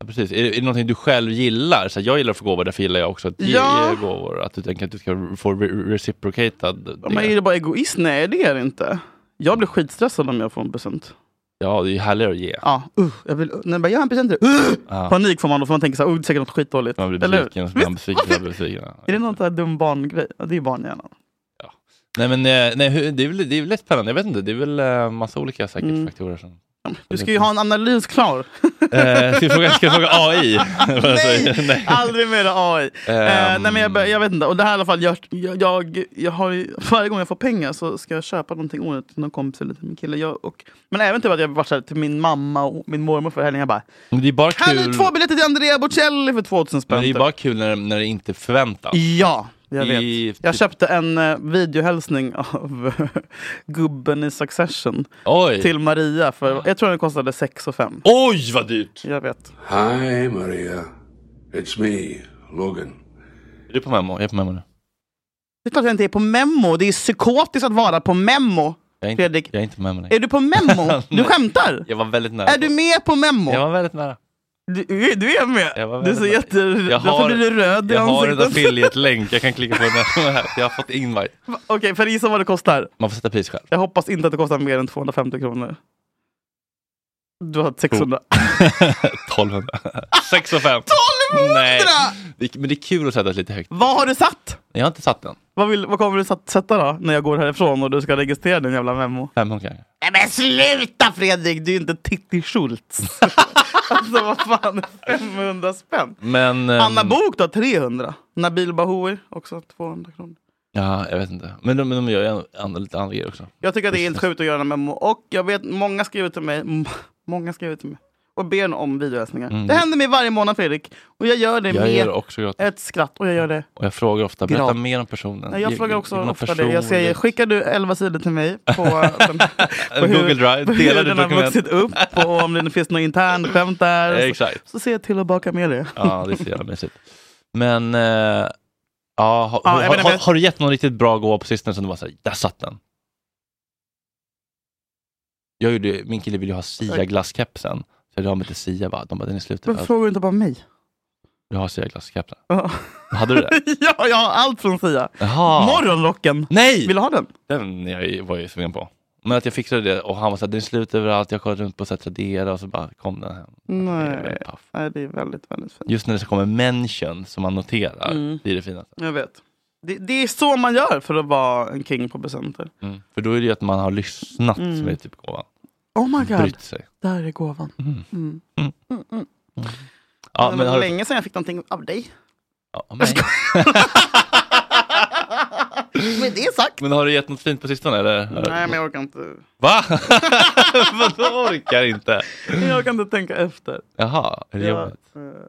Speaker 3: Ja, precis. Är det, är det någonting du själv gillar? Så här, jag gillar att få gåvor, därför gillar jag också att ge,
Speaker 2: Ja.
Speaker 3: ge gåvor. Att du tänker att du ska få re- reciprocated.
Speaker 2: Men är det bara egoist? Nej, det är det inte. Jag blir skitstressad om jag får en present.
Speaker 3: Ja, det är ju härligare att ge.
Speaker 2: Ja, uh, jag vill, när jag bara, jag har en present till dig. uh!
Speaker 3: Ja.
Speaker 2: Panik får man då, för man tänker så här, oh, det är säkert något skitdåligt.
Speaker 3: Man blir
Speaker 2: Eller hur?
Speaker 3: besviken, och så blir man besviken, och så blir man besviken. Ja.
Speaker 2: Är det någon sån här dum barngrej? Ja, det är barnhjärnan.
Speaker 3: Nej men eh, nej, hur- det är väl, det är väl lätt spännande, jag vet inte, det är väl eh, massa olika säkert
Speaker 2: Mm.
Speaker 3: faktorer som
Speaker 2: Du ska ju ha en analys klar.
Speaker 3: [LAUGHS] Eh, ska jag fråga, ska jag fråga
Speaker 2: [LAUGHS]
Speaker 3: AI?
Speaker 2: nej, aldrig mera AI. Eh,
Speaker 3: Ehm.
Speaker 2: nej, men jag, bör- jag vet inte. Och det här i alla fall, jag, jag, jag, jag har ju, varje gång jag får pengar så ska jag köpa någonting onödigt till någon kompis eller till min kille. Jag, och, men även typ att jag varit så här till min mamma och min mormor för helgen. Jag bara,
Speaker 3: Men det är bara
Speaker 2: kan du
Speaker 3: kul,
Speaker 2: två biljetter till Andrea Bocelli för 2000
Speaker 3: men
Speaker 2: spänn?
Speaker 3: det är
Speaker 2: typ?"
Speaker 3: bara kul när, när det inte förväntas.
Speaker 2: Ja, jag vet.
Speaker 3: I- typ-
Speaker 2: Jag köpte en eh, videohälsning [LAUGHS] av gubben i Succession
Speaker 3: Oj.
Speaker 2: till Maria. för Jag tror den kostade 6 och 5.
Speaker 3: Oj, vad dyrt!
Speaker 2: Jag vet.
Speaker 18: Hi, Maria. It's me, Logan.
Speaker 3: Är du på memo? Jag är på memo nu.
Speaker 2: Det är klart att jag inte är på memo. Det är psykotiskt att vara på memo.
Speaker 3: Jag är inte,
Speaker 2: Fredrik,
Speaker 3: jag är inte på memo längre.
Speaker 2: är du
Speaker 3: [LAUGHS]
Speaker 2: på memo? Du
Speaker 3: Nej.
Speaker 2: skämtar?
Speaker 3: Jag var väldigt nära.
Speaker 2: Är du med på memo?
Speaker 3: Jag var väldigt nära.
Speaker 2: Du, du är
Speaker 3: Jag var
Speaker 2: med? Du
Speaker 3: väldigt
Speaker 2: ser jätte...
Speaker 3: Jag
Speaker 2: Varför blir du röd i
Speaker 3: jag har en
Speaker 2: ansiktet?
Speaker 3: affiliate-länk, jag kan klicka på den här. Jag har fått invite.
Speaker 2: [LAUGHS] Okej, för gissa vad det kostar.
Speaker 3: Man får sätta pris själv. [LAUGHS]
Speaker 2: Jag hoppas inte att det kostar mer än 250 kronor. Du har 600.
Speaker 3: Oh. 1200. 6 och 5.
Speaker 2: 1200!
Speaker 3: Nej. Det, men det är kul att sätta lite högt.
Speaker 2: Vad har du satt?
Speaker 3: Jag har inte satt den.
Speaker 2: Vad, vill, vad kommer du satt- sätta då, när jag går härifrån och du ska registrera din jävla memo?
Speaker 3: 500 kanske.
Speaker 2: Nej men sluta Fredrik! Du är ju inte Titti Schultz. [LAUGHS] alltså vad fan, 500 spänn?
Speaker 3: Men... ehm,
Speaker 2: Anna Bok då, 300. Nabil Bahoui, också 200 kronor.
Speaker 3: Ja, jag vet inte. Men de, men de gör ju an- an- lite andra grejer också.
Speaker 2: Jag tycker att det är helt
Speaker 3: Business.
Speaker 2: sjukt att göra en memo. Och jag vet, många skriver till mig, m- många skriver till mig och ber om videohälsningar.
Speaker 3: Mm.
Speaker 2: Det händer mig varje månad Fredrik. Och jag gör det
Speaker 3: Jag
Speaker 2: med
Speaker 3: gör också gratis.
Speaker 2: ett skratt. Och jag gör det.
Speaker 3: Och jag frågar ofta, berätta
Speaker 2: Gratis.
Speaker 3: mer om personen.
Speaker 2: Nej, jag
Speaker 3: Ge-
Speaker 2: frågar
Speaker 3: ge
Speaker 2: också
Speaker 3: någon
Speaker 2: ofta det. Jag säger,
Speaker 3: personlig-
Speaker 2: skickar du 11 sidor till mig [LAUGHS] på, den,
Speaker 3: [LAUGHS]
Speaker 2: på
Speaker 3: Google Drive,
Speaker 2: på hur
Speaker 3: dela ditt
Speaker 2: den har
Speaker 3: dokument.
Speaker 2: vuxit upp och om det finns något internt skämt där. Så,
Speaker 3: Exakt.
Speaker 2: så ser jag till att baka med det.
Speaker 3: Ja, det är så jävla mysigt. Men, eh, ja, har,
Speaker 2: Ja, jag
Speaker 3: har,
Speaker 2: menar,
Speaker 3: har,
Speaker 2: men-
Speaker 3: har du gett någon riktigt bra gåva på sistone som du var såhär, där satt den? Jag gjorde, min kille ville ju ha Sia-glasskepsen. Så jag la mig till Sia, bara, de bara, den är slut.
Speaker 2: Men frågar du inte bara mig?
Speaker 3: Jag har Sia-glasskepsen.
Speaker 2: Ja.
Speaker 3: Hade du det?
Speaker 2: [LAUGHS] ja, jag har allt från Sia.
Speaker 3: Jaha.
Speaker 2: Morgonrocken.
Speaker 3: Nej!
Speaker 2: Vill du ha den?
Speaker 3: Den jag var ju sugen på. Men att jag fixade det och han var såhär, den är slut överallt, jag kollade runt på så här Tradera och så bara kom den hem.
Speaker 2: Nej. Nej, det är väldigt, väldigt fint.
Speaker 3: Just när det så kommer mention som man noterar,
Speaker 2: Mm.
Speaker 3: det är det finaste.
Speaker 2: Jag vet. Det, det är så man gör för att vara en king på presenter.
Speaker 3: Mm. För då är det ju att man har lyssnat som
Speaker 2: Mm.
Speaker 3: är typ gåvan.
Speaker 2: Oh my god,
Speaker 3: Brytt sig.
Speaker 2: där är gåvan. Mm. Mm.
Speaker 3: Mm.
Speaker 2: Mm.
Speaker 3: Ja,
Speaker 2: det
Speaker 3: men
Speaker 2: var
Speaker 3: har du-
Speaker 2: länge sedan jag fick någonting
Speaker 3: [LAUGHS]
Speaker 2: av dig.
Speaker 3: Ja, men...
Speaker 2: Med det sagt.
Speaker 3: men har du gett något fint på sistone eller?
Speaker 2: Nej, men jag orkar inte.
Speaker 3: Va? [LAUGHS] Vadå orkar inte?
Speaker 2: Jag orkar inte tänka efter.
Speaker 3: Jaha, är det
Speaker 2: Jag,
Speaker 3: jobbigt?
Speaker 2: eh,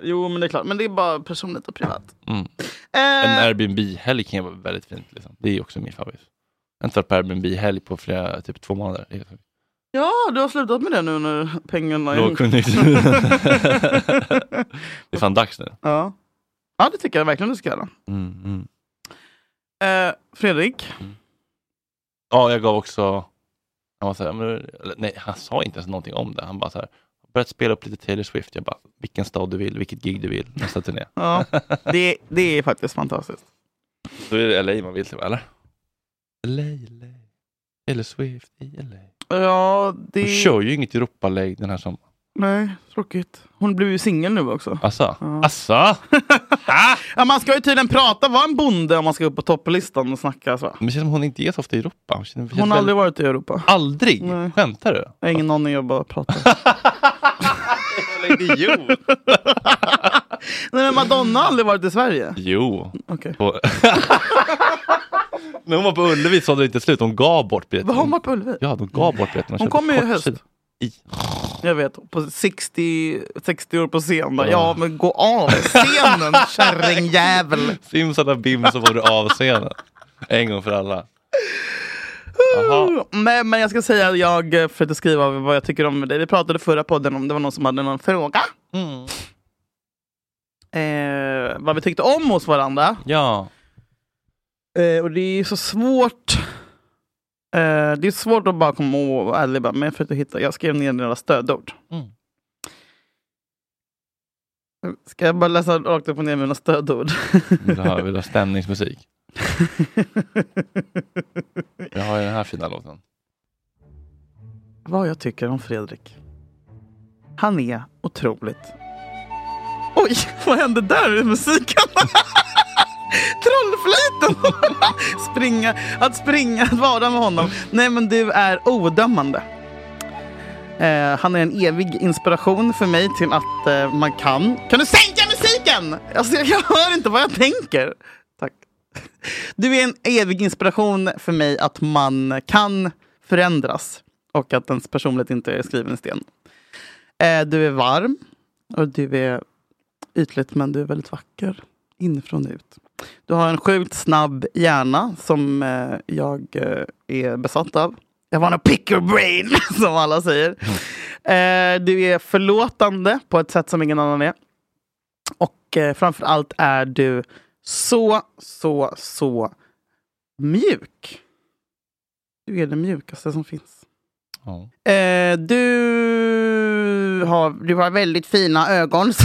Speaker 2: jo, men det är klart. Men det är bara personligt och privat.
Speaker 3: Mm. En
Speaker 2: Eh,
Speaker 3: Airbnb-helg kan ju vara väldigt fint. Liksom. Det är ju också min favorit. Jag har inte varit på Airbnb-helg på flera, typ två månader. Det är så-
Speaker 2: ja, du har slutat med det nu när pengarna... [LAUGHS]
Speaker 3: Lågkonjunktur. det är fan dags nu.
Speaker 2: ja. ja, det tycker jag verkligen du ska göra.
Speaker 3: Mm, mm.
Speaker 2: Eh, Fredrik.
Speaker 3: Ja, jag gav också... Han var så här, men, eller, nej, han sa inte ens någonting om det. Han bara så här, börjat spela upp lite Taylor Swift. Jag bara, vilken stad du vill, vilket gig du vill, nästa turné. [LAUGHS]
Speaker 2: Ja, det, det är faktiskt fantastiskt.
Speaker 3: Då är det LA man vill typ, eller? LA, LA. Taylor Swift i LA.
Speaker 2: Ja, det...
Speaker 3: Hon kör ju inget Europalägg den här sommaren.
Speaker 2: Nej, tråkigt. Hon blev ju singel nu också.
Speaker 3: Asså?
Speaker 2: Ja. [LAUGHS]
Speaker 3: Asså?
Speaker 2: Ja, man ska ju tydligen prata, vara en bonde om man ska upp på topplistan och snacka så.
Speaker 3: Men det känns som hon inte är så ofta i Europa. Hon, känns-
Speaker 2: Hon har aldrig varit i Europa.
Speaker 3: Aldrig? Skämtar du?
Speaker 2: Jag har ingen aning, jag bara pratar.
Speaker 3: Jävla idiot!
Speaker 2: [LAUGHS] Nej men Madonna har aldrig varit i Sverige.
Speaker 3: Jo.
Speaker 2: Okej.
Speaker 3: På... [LAUGHS] När hon var på Ullevi så hade det inte slut. Hon gav bort biljetten.
Speaker 2: Var hon varit på Ullevi?
Speaker 3: Ja, de gav bort biljetten.
Speaker 2: Hon kommer ju i höst.
Speaker 3: I.
Speaker 2: Jag vet, på 60, 60 år på scen. Bara, ja men gå av [LAUGHS] scenen kärringjävel.
Speaker 3: Simsalabim så var du av scenen. En gång för alla. Jaha.
Speaker 2: Nej men jag ska säga att jag eh, försökte skriva vad jag tycker om dig. Vi pratade förra podden om det var någon som hade någon fråga.
Speaker 3: Mm.
Speaker 2: Eh, vad vi tyckte om hos varandra.
Speaker 3: Ja.
Speaker 2: Eh, och det är ju så svårt. Eh, det är svårt att bara komma och vara ärlig. bara, Men jag försökte hitta, jag skrev ner några stödord.
Speaker 3: Mm.
Speaker 2: Ska jag bara läsa rakt upp och ner mina stödord?
Speaker 3: Vill du ha, vill du ha stämningsmusik? Jag har ju den här fina låten.
Speaker 2: vad jag tycker om Fredrik. Han är otroligt. Oj, vad hände där i musiken? [LAUGHS] Trollflöjten! [LAUGHS] springa, att springa, att vara med honom. Nej men du är odömande. Eh, han är en evig inspiration för mig till att eh, man kan... Kan du sänka musiken? Alltså, jag, jag hör inte vad jag tänker. Tack. Du är en evig inspiration för mig att man kan förändras och att ens personlighet inte är skriven i sten. Eh, du är varm och du är ytligt men du är väldigt vacker inifrån och ut. Du har en sjukt snabb hjärna som eh, jag eh, är besatt av. Jag var en pick your brain [LAUGHS] som alla säger. Eh, du är förlåtande på ett sätt som ingen annan är. Och eh, framför allt är du så, så, så mjuk. Du är den mjukaste som finns. Eh, du, har, du har väldigt fina ögon. [LAUGHS]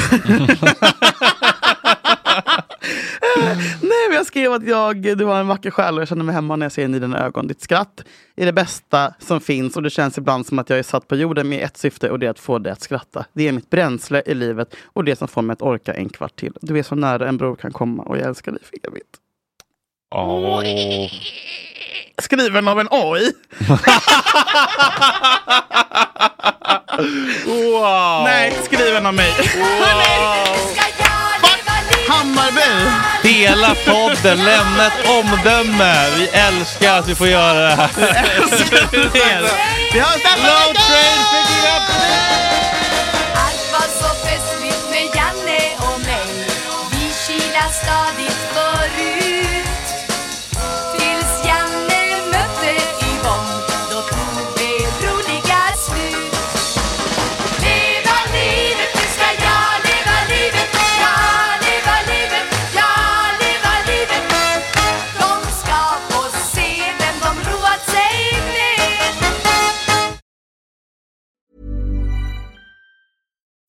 Speaker 2: Eh, Nej, men jag skrev att jag, du har en vacker själ och jag känner mig hemma när jag ser in i dina ögon. Ditt skratt är det bästa som finns och det känns ibland som att jag är satt på jorden med ett syfte och det är att få dig att skratta. Det är mitt bränsle i livet och det som får mig att orka en kvart till. Du är så nära en bror kan komma och jag älskar dig för evigt.
Speaker 3: Åh.
Speaker 2: Skriven av en AI.
Speaker 3: Wow.
Speaker 2: Nej, skriven av mig. Fuck Hammarby!
Speaker 3: Dela podden, lämna ett omdöme. Vi älskar att vi får göra det här.
Speaker 2: Vi har Stefan
Speaker 3: Low train picking up!
Speaker 19: Allt var så festligt med Janne och mig Vi kilar stadigt förut Tills Janne mötte Yvonne Då tog det roliga slut Leva livet, nu ska jag leva livet Ja, leva livet, ja, leva livet De ska få se vem de roat sig med